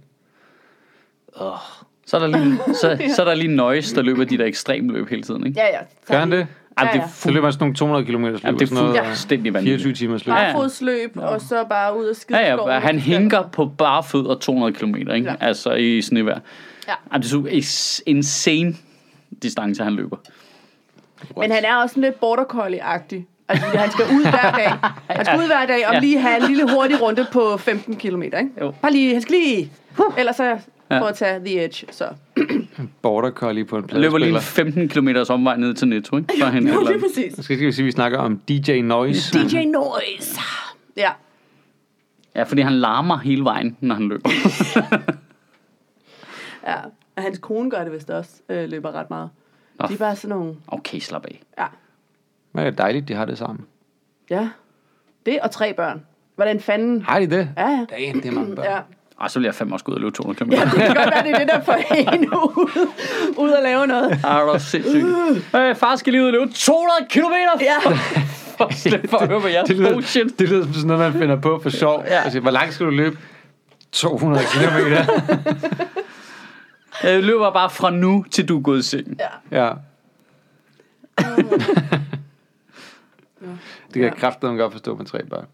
så, er der lige,
[LAUGHS]
så, så er der lige noise, der løber de der ekstremløb hele tiden. Ikke?
Ja, ja. Tak.
Gør han det?
Jamen, det
Ja,
er
ja.
Så
fu-
løber man sådan nogle 200 km løb,
Jamen, det er
sådan noget,
fu-
og
fuldstændig vanvittigt.
24 timers løb.
Ja.
Barfodsløb, ja. og så bare ud og skide
Ja,
skoven.
ja, han hinker på bare fødder 200 km, ikke? Ja.
Ja.
Altså i snevejr.
Ja.
Jamen, det er så insane distance, han løber.
Men han er også sådan lidt border collie-agtig. Altså, fordi han skal ud hver
[LAUGHS]
dag. Han skal ud hver dag og
Ja.
lige have en lille hurtig runde på 15 km, ikke?
Jo.
Bare lige, han skal lige... Ellers så
Ja.
for at tage The Edge, så.
Border Collie på en
Han løber lige en
pladespiller.
15 km omvej ned til Netto, ikke? For han
Jo,
eller
[LAUGHS] lige
andet.
præcis.
Så skal vi sige, at vi snakker om DJ Noise.
DJ Noise. Ja.
Ja, fordi han larmer hele vejen, når han løber.
ja. Og hans kone gør det vist også, øh, løber ret meget.
Nå.
De er bare sådan nogle...
Okay, slap af.
Ja.
Men det er dejligt, de har det sammen.
ja. Det og tre børn. Hvordan fanden...
Har de det?
Ja, ja.
Damn, det er mange børn.
Ja.
Og så vil jeg fandme også gå ud og løbe 200 km.
Ja, det kan godt være, det er det, der får [LAUGHS] hende ud, ud at lave noget.
Er du sindssygt? Øh, far skal lige ud og løbe 200 km!
Ja.
[LAUGHS]
for at slippe for at høre på jeres
Det lyder,
bullshit.
det lyder som sådan noget, man finder på for sjov.
Oh, Ja.
Ja. Altså, hvor langt skal du løbe? 200 km.
Jeg Øh, løber bare fra nu, til du er gået i seng.
ja.
Ja.
Det kan
Ja.
jeg kraftedeme godt forstå med tre børn.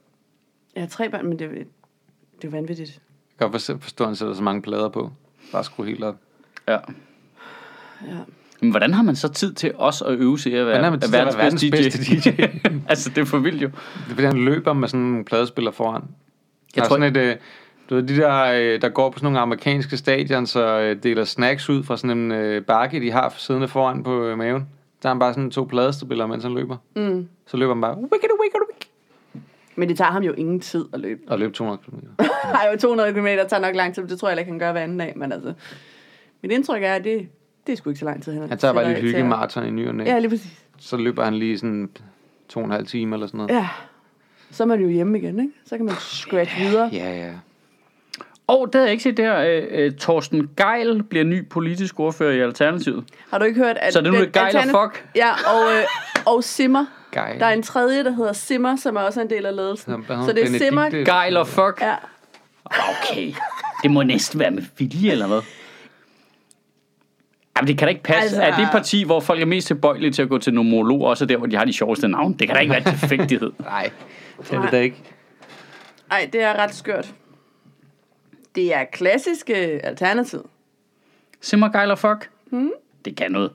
Jeg har tre børn, men det, er- det er vanvittigt.
Jeg kan godt forstå- forstå, at han sætter så mange plader på. Bare skru helt op.
Ja.
Ja.
Men hvordan har man så tid til os at øve sig i at være,
Hvordan har man tid til at være verdens bedste DJ?
[LAUGHS] altså, det er for vildt jo.
Det er fordi, han løber med sådan nogle pladespiller foran. Jeg
tror-
tror, sådan et, øh, du ved, de der, øh, der går på sådan nogle amerikanske stadion, så øh, deler snacks ud fra sådan en øh, bakke, de har siddende foran på øh, maven. Der har han bare sådan to pladespillere, mens han løber.
Mm.
Så løber han bare, wicked, wicked, wicked,
Men det tager ham jo ingen tid at løbe.
og løber 200 km.
Ej, jo 200 km tager nok lang tid, men det tror jeg heller ikke, han gør hver anden dag. Men altså, mit indtryk er, at det, det er sgu ikke så lang tid. Han,
Han tager bare
sætter
lidt
af til at-
hyggemarathon i ny og næ.
Ja, lige præcis.
Så løber han lige sådan to og en halv time eller sådan noget.
Ja. Så er man jo hjemme igen, ikke? Så kan man scratch videre.
Ja, ja.
Og der har jeg ikke set det her. øh, øh, Torsten Geil bliver ny politisk ordfører i Alternativet.
Har du ikke hørt, at...
Så det er nu
den
lidt gejl og
alternat-
fuck.
Ja, og, øh, og Simmer.
Geil.
Der er en tredje, der hedder Simmer, som er også en del af ledelsen.
Hvad hedder
Så
han?
det er
Benedikte?
Simmer.
Geil og fuck.
Ja.
Okay. Det må næsten være med vilje, eller hvad? Jamen, det kan da ikke passe. Altså...
Altså-
Er det parti, hvor folk er mest tilbøjelige til at gå til nomologer, også der, hvor de har de sjoveste navne? Det kan da ikke være
[LAUGHS]
tilfældighed.
Nej, det er
Nej.
det da ikke.
Ej, det er ret skørt. Det er klassiske alternativ.
Simmer Geil og fuck. Hmm? Det kan noget.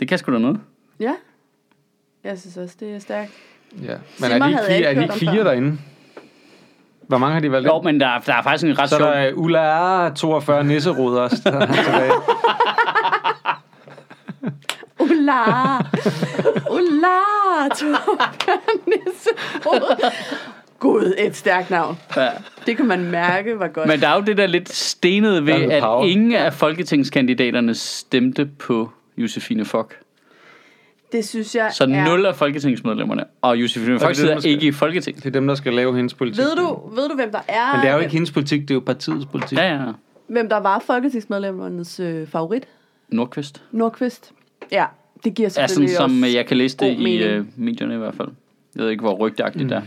Det kan sgu da noget.
Ja. Jeg synes også, det er stærkt.
Ja. Men
Simmer
er de ikke
havde jeg
fire,
ikke
er de
hørt
ikke
om
fire
før.
derinde? Hvor mange har de valgt? ind?
Jo, men der, er- der er faktisk en ret
Så er
sjov...
der øh, Ulla 42 nisseruder også, der er tilbage.
Ulla! Ulla! Nisse. Gud, et stærkt navn.
Ja.
Det kan man mærke, var godt.
Men der er jo det der lidt stenede ved,
Der er noget
at
power.
ingen af folketingskandidaterne stemte på Josefine Fock.
det synes jeg
Så
er...
nul af folketingsmedlemmerne. Og Josefine
det
Fock
det,
sidder
måske?
ikke i
[LAUGHS]
Folketinget.
Det er dem, der skal lave hendes politik.
Ved du, ved du, hvem der er?
Men det er jo ikke hendes politik, det er jo partiets politik.
Ja, ja.
Hvem der var folketingsmedlemmernes øh, favorit?
Nordqvist.
Nordqvist. Ja, det giver
Er sådan,
selvfølgelig
som
også...
øh, jeg kan læse det
god
i
mening.
øh, medierne i hvert fald. Jeg ved ikke, hvor rygtagtigt mm. det er.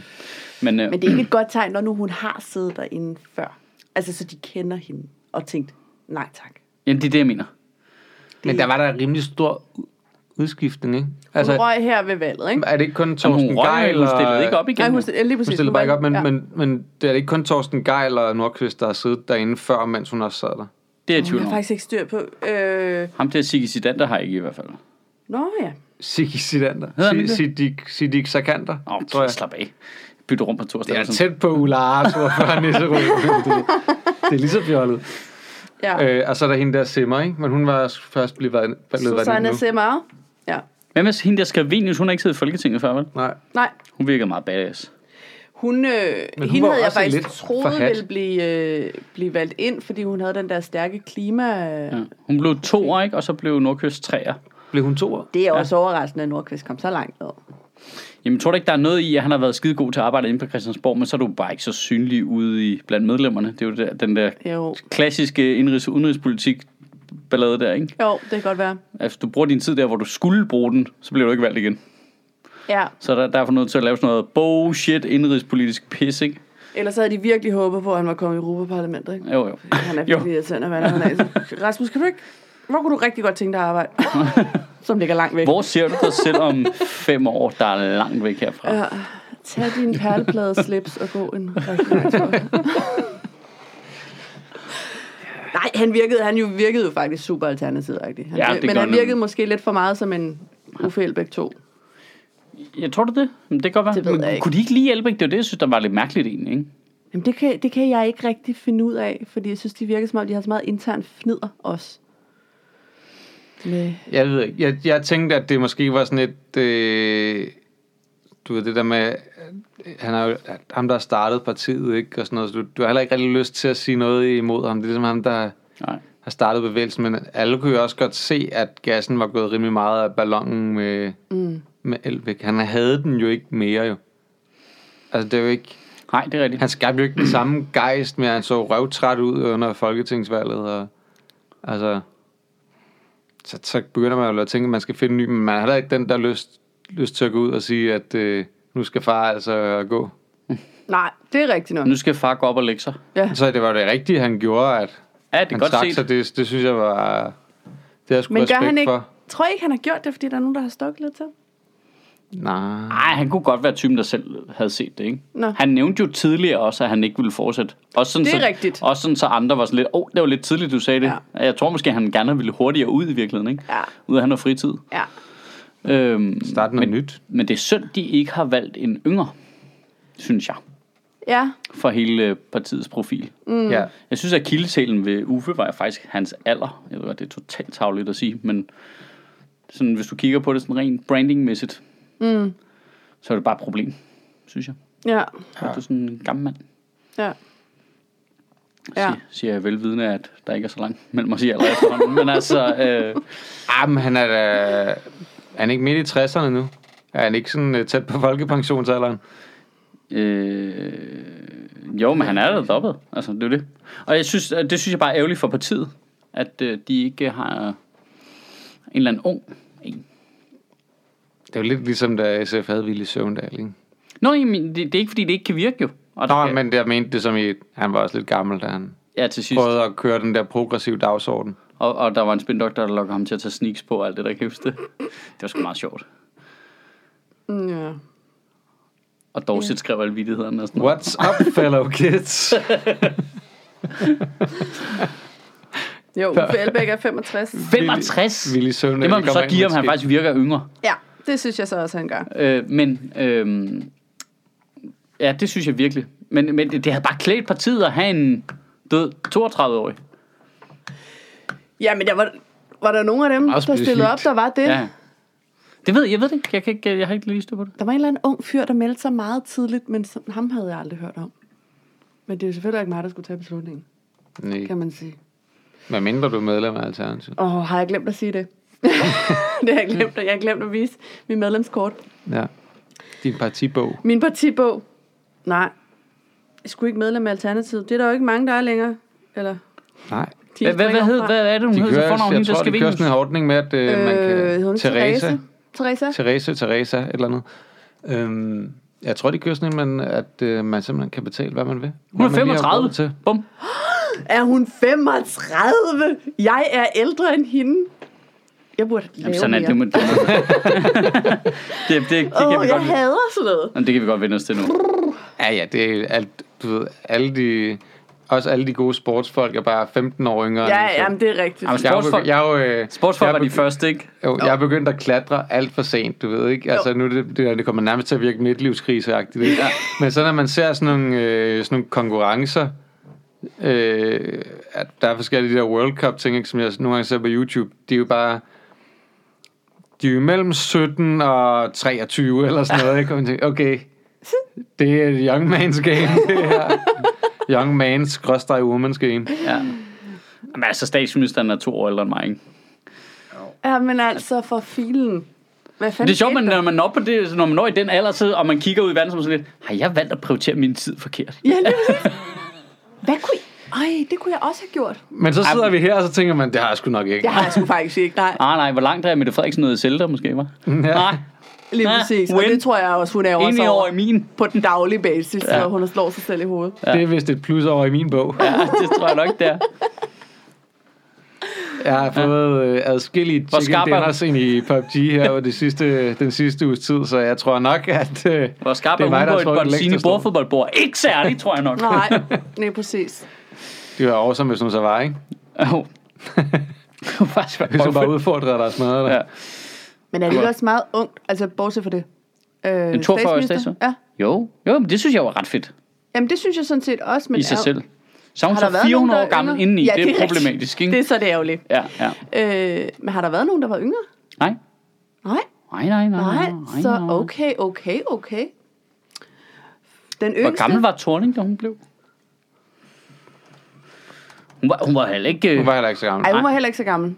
Men, øh,
Men det er ikke et godt tegn, når nu hun har siddet derinde før. Altså, så de kender hende og tænkt, nej tak.
jamen, det er det, jeg mener.
Men der var der en rimelig stor u- udskiftning, ikke?
Altså,
Altså,
hun røg her ved valget, ikke?
er det ikke kun
Jamen,
Torsten
hun røg,
Geil?
hun stillede ikke op
Nej,
igen.
hun,
Hun
ja, lige præcis.
Hun stillede bare ikke op, men,
ja.
men, men det er det ikke kun Torsten Geil og Nordqvist, der har siddet derinde før, mens hun også sad der.
det er jeg i
Jeg
tvivl
har
om.
faktisk ikke styr på... Øh...
Ham der Sigge Sidander har jeg ikke i hvert fald.
Nå ja.
Sigge Sidander.
Hedder han
Si-
det?
Sidik, Sidik Sarkander,
Åh,
tror
okay,
jeg.
slap af. Bytte rum på
Det
torsdag.
er tæt på Ulla Arthur før Nisserud.
[LAUGHS]
Det, det er lige så fjollet.
ja.
Øh, og så er der hende der Simmer, ikke? Men hun var først blevet valgt blevet valgt ind
Susanne
nu.
Simmer. Ja.
Hvem er hende der Skravenius? Hun har ikke siddet i Folketinget før, vel?
Nej.
Nej,
Hun virker meget badass.
hun,
hun
øh, hun
var
hende havde jeg
også
faktisk
lidt
troet
forhat.
ville blive, øh, blive valgt ind, fordi hun havde den der stærke klima... Ja.
Ja. Hun blev to år, ikke? Og så blev Nordkyst træer.
Blev hun to år?
Det er også overraskende, at Nordqvist kom så langt ned.
Jamen, tror du ikke, der er noget i, at han har været skide god til at arbejde inde på Christiansborg, men så er du bare ikke så synlig ude i, blandt medlemmerne. Det er jo der, den der
Jo.
klassiske indrigs- og udenrigspolitik ballade der, ikke?
jo, det kan godt være.
Altså, du bruger din tid der, hvor du skulle bruge den, så bliver du ikke valgt igen.
Ja.
Så er der, derfor nødt til at lave sådan noget bullshit indrigspolitisk pis, ikke?
Ellers havde de virkelig håbet på, at han var kommet i Europaparlamentet, ikke?
Jo, jo.
Han er
Jo.
virkelig irriterende, hvad han er. Altså, Rasmus, kan du ikke... Hvor kunne du rigtig godt tænke dig at
[LAUGHS]
arbejde? Som ligger langt væk.
Hvor ser du dig selv om fem år, der er langt væk herfra?
Ja. Tag din perleplade slips og gå en rigtig
[LAUGHS]
lang tur. Nej, han virkede, han jo virkede jo faktisk super alternativagtig. Han,
Ja,
vir-
det
men
gør
han
han.
virkede måske lidt for meget som en Uffe Elbæk 2.
Jeg tror du det? Jamen, det kan godt være.
Det ved jeg
Men
ikke.
Kunne de ikke lige hjælpe? Det var det, jeg synes, der var lidt mærkeligt egentlig, ikke?
Jamen, det kan, det kan jeg ikke rigtig finde ud af, fordi jeg synes, de virker som om, de har så meget intern fnider også. Med,
Jeg ved ikke. Jeg, jeg tænkte, at det måske var sådan et... Øh, du ved, det der med... øh, Han er jo at ham, der har startet partiet, ikke? Og sådan noget. Så du, du har heller ikke rigtig lyst til at sige noget imod ham. Det er ligesom ham, der
Nej.
har startet bevægelsen. Men alle kunne jo også godt se, at gassen var gået rimelig meget af ballonen med, mm. med Elbæk. Han havde den jo ikke mere, jo. Altså, det er jo ikke...
Nej, det er rigtigt.
Han skabte jo ikke den samme gejst, men han så røvtræt ud under folketingsvalget. Og, altså, så, så begynder man jo at tænke, at man skal finde en ny, men man har heller ikke den der lyst lyst til at gå ud og sige, at øh, nu skal far altså gå.
Nej, det er rigtigt nok.
Nu skal far gå op og lægge sig.
Så det var det rigtige, han gjorde, at
Ja, det er
han
godt
stak
set.
sig. Det, det synes jeg var... Det har jeg sgu
Men gør
respekt
han ikke...
for.
Tror I ikke, han har gjort det, fordi der er nogen, der har stukket lidt til?
Nej.
Nej, han kunne godt være typen, der selv havde set det, ikke?
Nå.
Han nævnte jo tidligere også, at han ikke ville fortsætte. Også sådan,
Det er
så,
rigtigt.
Også sådan, så andre var sådan lidt, åh, oh, det var lidt tidligt, du sagde det.
Ja.
Ja. Jeg tror måske, han gerne ville hurtigere ud i virkeligheden, ikke?
Ja.
Ud af han har fritid.
Ja.
Øhm,
Start noget
men,
nyt.
Men det er synd, de ikke har valgt en yngre, synes jeg,
Ja.
for hele øh, partiets profil.
Mm. Ja.
Jeg synes, at kildesælen ved Uffe var faktisk hans alder. Jeg ved godt, det er totalt tavligt at sige, men sådan, hvis du kigger på det sådan rent brandingmæssigt, mm. så er det bare et problem, synes jeg.
Ja.
Ja. Du er sådan en gammel mand,
Ja.
ja.
Ja.
siger, siger jeg velvidende, at der ikke er så langt mellem os i alder efterhånden. men altså, øh,
Ah, men han er da... Er han ikke midt i 60'erne nu? Er han ikke sådan øh, tæt på folkepensionsalderen?
øh, jo, men han er da dobbelt. Altså, det er jo det. Og jeg synes, at det synes jeg bare er ærgerligt for partiet, at øh, de ikke har en eller anden ung en,
Det er jo lidt ligesom, da SF havde Ville Søvndal, ikke?
Nå, jamen, det, det er ikke, fordi det ikke kan virke jo. Og der
Nå,
kan-
men jeg mente det som i... Han var også lidt gammel, da han
Ja, til sidst.
prøvede at køre den der progressive dagsorden.
Og, og der var en spindoktor, der lokker ham til at tage sneaks på og alt det, der kan huske det. Det var sgu meget sjovt.
Mm, Ja.
Og Dorset skrev alle vidighederne og sådan noget.
What's up, fellow
[LAUGHS]
kids? [LAUGHS]
Jo, Uffe Elbæk er 65.
65!
Ville Søvndal
Det må man
kommer
så
ind
give, om han
måske.
faktisk virker yngre.
Ja, det synes jeg så også, han gør.
Øh, men, øh, ja, det synes jeg virkelig. Men, men det, det havde bare klædt partiet at have en død 32-årig.
Ja, men der var, var der nogen af dem,
Meget
der stillede op,
specifikt.
der var det?
Ja. Det ved jeg, ved det ikke. Jeg, kan ikke, jeg har ikke lige styr på det.
Der var en eller anden ung fyr, der meldte sig meget tidligt, men som, ham havde jeg aldrig hørt om. Men det er jo selvfølgelig ikke mig, der skulle tage beslutningen,
Nej,
kan man sige.
hvad mindre du er medlem af Alternativet.
Åh, har jeg glemt at sige det? [LAUGHS] det har jeg glemt, og jeg har glemt at vise min medlemskort.
Ja. Din partibog.
Min partibog? Nej. Jeg skulle ikke medlem af Alternativet. Det er der jo ikke mange, der er længere. Eller,
Nej.
de
Hvad, hvad, hvad,
springer
hed,
fra.
hvad er det, hun
De
hedder til
kører,
fornavn?
jeg
Hende, der
tror,
skal
de kører sådan en ordning med, at øh, man
Øh, hed
kan...
hun Teresa? Teresa?
Teresa, Teresa, et eller andet. Øhm, jeg tror, de kører sådan en, man, at øh, man simpelthen kan betale, hvad man vil.
Hun er
Hvad man lige har råd
35.
Til.
Bum.
Er hun 35? Jeg er ældre end hende. Jeg burde lave
Jamen, sådan er
mere.
det.
[LAUGHS]
Det, må- det, må- det, det, det, kan
Åh,
vi
oh,
godt,
jeg hader sådan noget.
Jamen, det kan vi godt vende os til nu.
Ja, ja, det er alt, du ved, alle de... Også alle de gode sportsfolk er bare 15 år yngre.
Ja,
end jeg selv.
jamen, det er rigtigt.
Jamen,
jeg er jo
Sportsfolk-
begy- jeg er jo, øh,
Sportsfolk
jeg er
var de
begy-
første, ikke?
Jo, jeg er begyndt at klatre alt for sent, du ved ikke. Altså nu er det, det, det kommer nærmest til at virke midtlivskriseagtigt. [LAUGHS] Ikke? Ja. Men så når man ser sådan nogle, øh, sådan nogle konkurrencer, øh, at der er forskellige de der World Cup ting, ikke, som jeg nogle gange ser på YouTube, de er jo bare de er jo mellem 17 og 23 eller sådan noget, ikke? Og man tænker, okay, det er et young man's game, det her. Young man's, grøstrej woman's game.
Ja. Jamen, altså, statsministeren er to år ældre end mig, ikke?
Ja, men altså, for filen. Hvad fanden
Men det er sjovt,
skete
men
der?
når man, når, på det, når man når i den alder, så, og man kigger ud i verden, så er man sådan lidt, har jeg valgt at prioritere min tid forkert?
Ja,
[LAUGHS]
lige præcis. Hvad kunne I... Ej, det kunne jeg også have gjort.
Men så sidder vi her, og så tænker man, det har jeg sgu nok ikke.
Det har jeg sgu faktisk ikke, nej.
Ah, nej, hvor langt er Mette Frederiksen noget i Zelda,
[LAUGHS]
måske, var? Ja. Nej,
Lige
Ah,
præcis. Og
win.
det tror jeg også, hun er
en
også
i år i
over
min.
på den daglige basis, ja. så hun slår sig selv i
[LAUGHS]
hovedet.
Det er vist et plus over i min bog.
Ja, det tror jeg nok, der.
Jeg har fået øh, adskillige
Hvor
chicken
skarp er
dinners ind i PUBG her over de sidste, den sidste uges tid, så jeg tror nok, at øh,
Hvor skarp er
mig, der har
hun på et
trykket
Bolsini
længst afsted.
bordfodboldbord? Ikke særligt, tror jeg nok.
Nej, lige præcis.
det var awesome, hvis hun så var, ikke?
Åh. Det var faktisk
Hvis hun bare
bare
udfordrede dig og smadrede dig.
Ja.
Ja.
Men er det ikke også meget ungt? Altså, bortset fra det. Øh,
En 42-årig statsminister?
Ja.
Jo, jo, men det synes jeg var ret fedt.
Jamen, det synes jeg sådan set også. Men
i sig
er-
selv. Så er hun
Har der
så
været
400
nogen,
år
der er
gammel
yngre?
indeni.
Ja,
det
det
er
er rigtigt.
problematisk, ikke?
Det er så det ærgerligt.
Ja, ja.
Øh, men har der været nogen, der var yngre?
Nej.
Nej.
Nej, nej, nej.
Nej,
nej,
så
nej.
okay, okay, okay. Den yngste...
Hvor gammel var Thorning, da hun blev? Hun var, hun var heller ikke... øh,
Hun
Hun
var
var...
heller ikke så gammel.
Ej, hun var heller ikke så gammel.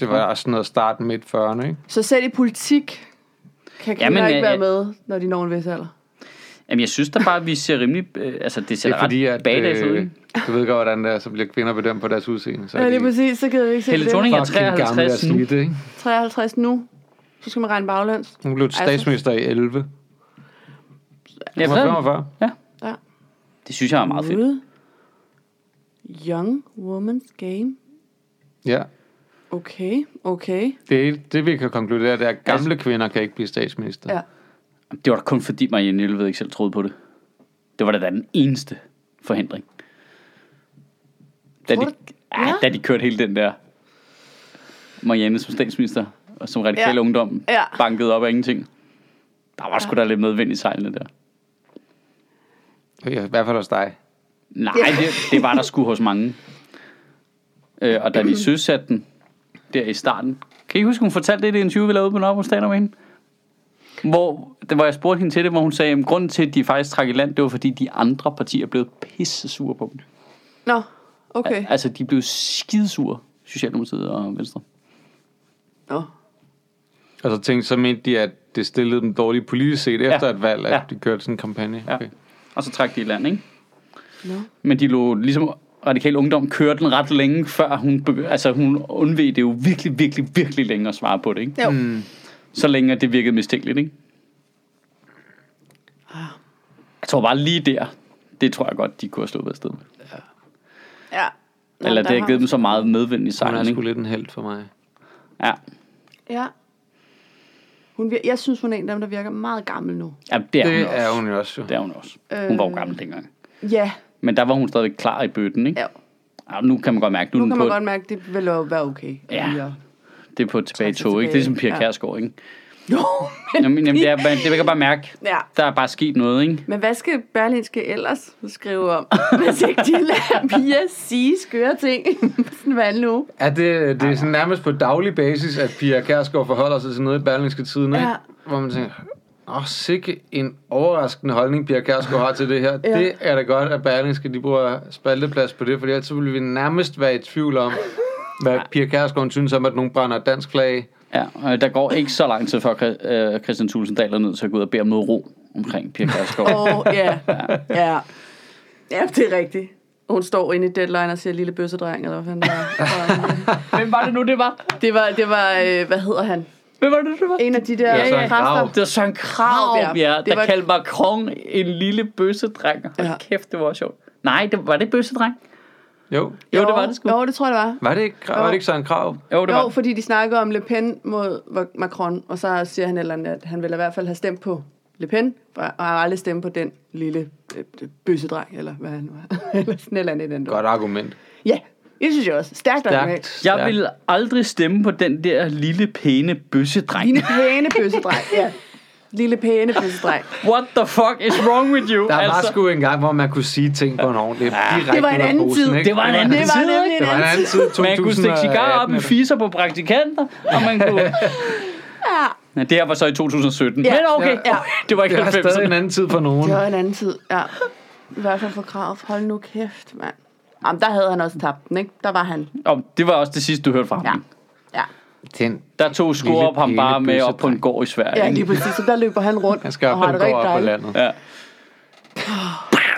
Det var også sådan noget start midt 40'erne, ikke?
Så selv i politik kan kvinder
Jamen,
Jamen, ikke
jeg-
være
jeg-
med, når de når en vis alder.
Jamen, jeg synes da bare, at vi ser rimelig... Øh, altså, det ser
Det er fordi,
ret
at
bagdags ud.
øh,
ikke?
du ved godt, hvordan det er, så bliver kvinder bedømt på deres udseende. Så er
Ja,
de
lige præcis, så gider vi ikke se
Helle
det.
Thorning er
fucking gamle og
53 nu.
slidte, ikke?
53 nu. Så skal man regne baglæns.
Hun blev statsminister i 11.
Ja,
Hun var 45.
det synes jeg er meget fedt.
Ude. Young Woman's Game.
Ja.
Okay, okay.
Det, det vi kan konkludere, det er, at gamle kvinder kan ikke blive statsminister.
Ja.
Det var da kun fordi Marianne Jelved ikke selv troede på det. Det var da den eneste forhindring. Da
Tror
de,
du-
ja. ah,
Ja.
da de kørte hele den der Marianne som statsminister, og som radikal
Ja.
ungdom,
Ja.
bankede op af ingenting. Der var sgu da lidt medvind i sejlene der.
Ja. I hvert fald hos dig.
Nej,
Ja.
det, det var der sgu hos mange. Øh, og
Mhm.
da de søsatte den der i starten. Kan I huske, hun fortalte det i det interview, vi lavede på Nørrebro Stand om hende? Hvor, det, hvor jeg spurgte hende til det, hvor hun sagde, at grunden til, at de faktisk trak i land, det var, fordi de andre partier blev pisse sure på dem.
Nå, okay.
Altså, de blev skidesure, Socialdemokratiet og Venstre.
Nå.
Og så tænkte så mente de, at det stillede dem dårligt politisk set efter
Ja.
et valg, at
Ja.
de kørte sådan en kampagne.
Ja.
Okay.
Og så trak de i land, ikke?
Nå.
Men de lå ligesom radikal ungdom kørte den ret længe, før hun, begy- altså, hun undvede det jo virkelig, virkelig, virkelig længe at svare på det, ikke?
Jo. Mm.
Så længe at det virkede mistænkeligt, ikke?
Ah.
Jeg tror bare lige der, det tror jeg godt, de kunne have stået ved sted.
Ja. Nå,
Eller
der
det har
har-
givet dem så meget medvind i
Hun er
sejlen,
sgu
ikke?
lidt en held for mig.
Ja.
Ja. Hun, vir- jeg synes, hun er en af dem, der virker meget gammel nu.
ja, det er hun
Det
også.
er hun jo også. jo.
Det er hun også. Hun
Øh.
var jo gammel dengang.
Ja,
Men der var hun stadigvæk klar i bøtten, ikke?
ja.
Ja, nu kan man godt mærke, nu,
nu
er den
kan
på,
man godt mærke, det vil jo være okay. at
Ja.
[LAUGHS] lige at-
det er på et tilbage
sig
tog, ikke? Det er som
tilbage.
Pia
Ja.
Kærsgaard, ikke?
Jo, men...
Jamen, jamen det, er, man, det man kan bare mærke,
Ja.
der er bare sket noget, ikke?
Men hvad skal Berlinske ellers skrive om, [LAUGHS] hvis ikke de lader Pia sige skøre ting? [LAUGHS] Sådan hvad nu?
Er det, det er sådan nærmest på daglig basis, at Pia Kærsgaard forholder sig til noget i Berlingske Tiden, ikke?
Ja.
Hvor man tænker, åh, sikke en overraskende holdning, Pia Kærsgaard har til det her.
Ja.
Ja. Det er da godt, at Berlingske de bruger spalteplads på det, for ellers så ville vi nærmest være i tvivl om, hvad Pia Kærsgaard synes om, at nogen brænder et dansk flag af.
Ja, og der går ikke så lang tid, før Chri- øh, Christian Thulesen Dahl er nødt til at gå ud og bede om noget ro omkring Pia Kærsgaard.
Og ja, ja. Ja, det er rigtigt. Hun står inde i deadline og siger lille bøssedreng, eller hvad
[LAUGHS]
fanden det var.
Hvem var det nu, det var?
Det var, det var øh, hvad hedder han?
Hvem var det, det var?
En af de der
Ja, Søren
præster.
Krav.
Det var Søren Krav,
Krarup, ja.
ja,
Det
der
var-
var... kaldte Macron en lille bøssedreng. Hold
Ja.
ja. kæft, det var sjovt. Nej, det, var det bøssedreng?
Jo.
Jo, det var det sgu.
Jo, det tror jeg, det var.
Var det ikke, var det ikke Søren Krav?
Jo, det var
Jo,
det.
fordi de snakker om Le Pen mod Macron, og så siger han et eller andet, at han vil i hvert fald have stemt på Le Pen, og han har aldrig stemt på den lille øh, bøssedreng, eller hvad han nu er. [LAUGHS] eller sådan et eller andet i den dur.
Godt argument.
Ja, det synes jeg også. Stærkt argument.
Stærkt.
Jeg ville aldrig stemme på den der lille, pæne bøssedreng.
Lille pæne bøssedreng, ja. Lille pæne bøssedreng.
What the fuck is wrong with you? Altså,
Der var sgu en gang, hvor man kunne sige ting på en ordentlig direkte
Det var en
ud af
anden
posen,
tid.
ikke?
Det var en anden
Det var
tid,
nemlig
ikke?
en
Det var en
anden
anden tid, 2018.
Man kunne stikke cigarer op i
eller-
fiser på praktikanter, og man kunne...
[LAUGHS]
Ja,
Ja, det her var så i 2017.
Ja.
Men okay,
Ja.
det var ikke
Det var stadig en
90'erne.
anden tid for nogen.
det var en anden tid, ja. I hvert fald for kravet. Hold nu kæft, mand. Jamen, der havde han også tabt den, ikke? Der var han.
Og det var også det sidste, du hørte fra ham.
Ja. Ja,
Den
Der tog
Lille,
Skorup ham
pæne
bare med op på en
bøssedreng.
gård i Sverige.
ja
ikke?
lige præcis. Så der løber han rundt
Han skal op,
og har
han
det
går
rigtig
op på
dejligt.
landet.
Ja.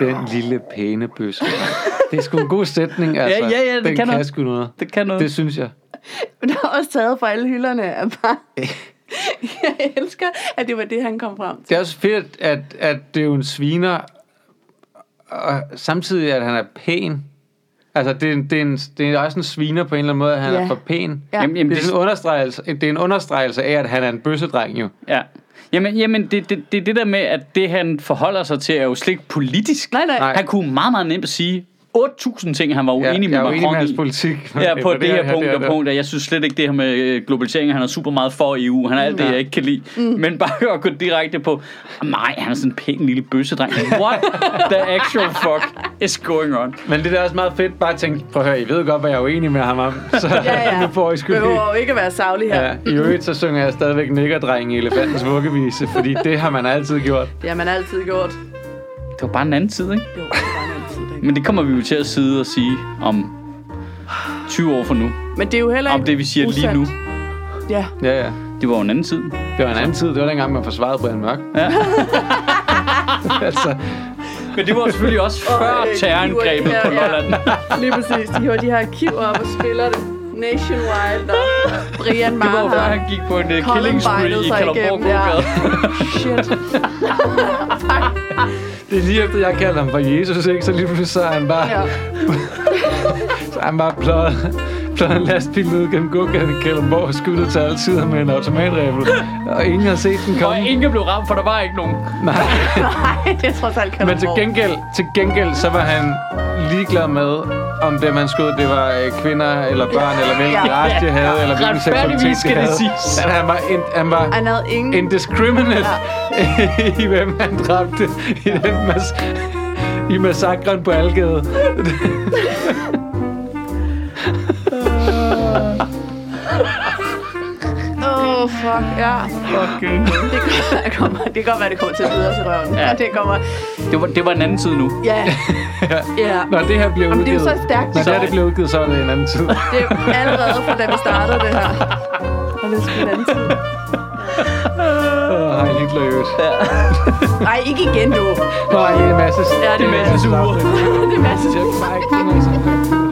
Den lille pæne bøsse. Det er sgu en god sætning, altså.
ja, ja, det
Den
kan
kan
noget.
sgu noget.
Det kan noget.
Det synes jeg.
Men der er også taget fra alle hylderne af bare... Jeg elsker, at det var det, han kom frem til.
Det er også fedt, at, at det er jo en sviner, og samtidig at han er pæn. Altså, det er, en, det, er en, det er også en sviner på en eller anden måde, at han
Ja.
er for pæn.
Ja.
Jamen,
Jamen, jamen,
det, er sådan
det,
en understregelse, det er en understregelse af, at han er en bøssedreng jo.
ja. jamen, jamen det, det, det er det der med, at det han forholder sig til, er jo slet ikke politisk.
Nej, nej.
Nej.
Han kunne meget, meget nemt sige 8.000 ting, han var uenig med
jeg er jo
Macron
enig med hans
i.
politik.
Ja, på det, det her punkt
det
og punkt, og jeg synes slet ikke det her med øh, globalisering, han er super meget for EU, han er alt det,
Ja.
jeg ikke kan lide,
Mm.
men bare [LAUGHS] at gå direkte på, nej, han er sådan en pæn lille bøssedreng, what the actual fuck is going on?
Men det er da også meget fedt bare at tænke, prøv at høre, I ved godt, hvad jeg er uenig med ham om, [LAUGHS] så
Ja, ja.
nu får I sgu lige...
behøver jo ikke at være savlig her.
Ja,
Ja.
i øvrigt så synger jeg stadigvæk nikkerdreng i elefantens vuggevise, fordi det har man altid gjort.
Det har man altid gjort.
Det var bare en anden tid, ikke?
Jo, det var en altid, ikke?
Men det kommer vi jo til at sidde og sige om 20 år fra nu,
Men det er jo heller ikke
om det vi siger lige
usandt.
nu,
Ja,
Ja, ja.
det var jo en anden tid.
Det var en anden tid. Det var dengang, man forsvarede Brian Mørk.
Ja.
[LAUGHS] altså,
Men det var jo selvfølgelig også
Og, øh,
før terrorangrebet
de var-
på
ja, ja.
Lolland.
lige præcis. De har de her arkiver op og spiller det. Nationwide, og Brian
Det var bare,
Marham.
han gik på en uh,
Colin
killing spree
bindede
i
sig
Kalderborg
igennem, ja.
Gågade.
Shit.
Det er lige efter, jeg kaldte ham for Jesus, ikke? Så lige pludselig så er han bare,
Ja.
ja. så er han bare pløjet, pløjet en lastbil ned gennem gågaden i Kalundborg og skudt til alle sider med en automatræbel. Og ingen har set den
Og
komme.
ingen blev ramt, for der var ikke nogen.
Nej.
Nej, det er trods alt
Men til
Kalundborg.
gengæld, til gengæld, så var han ligeglad med, om dem han skød, det var øh, kvinder eller børn, eller hvilken
Ja.
race de havde, eller hvilken seksualitet
Retfærdigvis skal
de
det
havde.
siges.
Han, han var, ind, han var
Han havde ingen...
indiscriminate [LAUGHS] i, hvem han dræbte i, den mas- i massakren på Algade. [LAUGHS]
Åh, oh, fuck, ja.
Fucking.
Det kan, det kommer, det kan godt være, det kommer til at videre til røven.
Ja.
Ja. Det kommer...
Det var, det var en anden tid nu.
Ja. Ja.
Når det her bliver
Jamen, det er
udgivet,
jo så stærkt,
når
det
det, her,
går.
det bliver udgivet, så er det en anden tid.
Det er allerede fra, da vi startede det her. Og det er sgu en anden tid.
Åh, Hej Hitler i øvrigt.
Nej, ikke igen nu.
Nå, ej, det er en masse,
Ja, det er en masse
sure.
Det er masser.
Det er bare ikke sådan noget, som-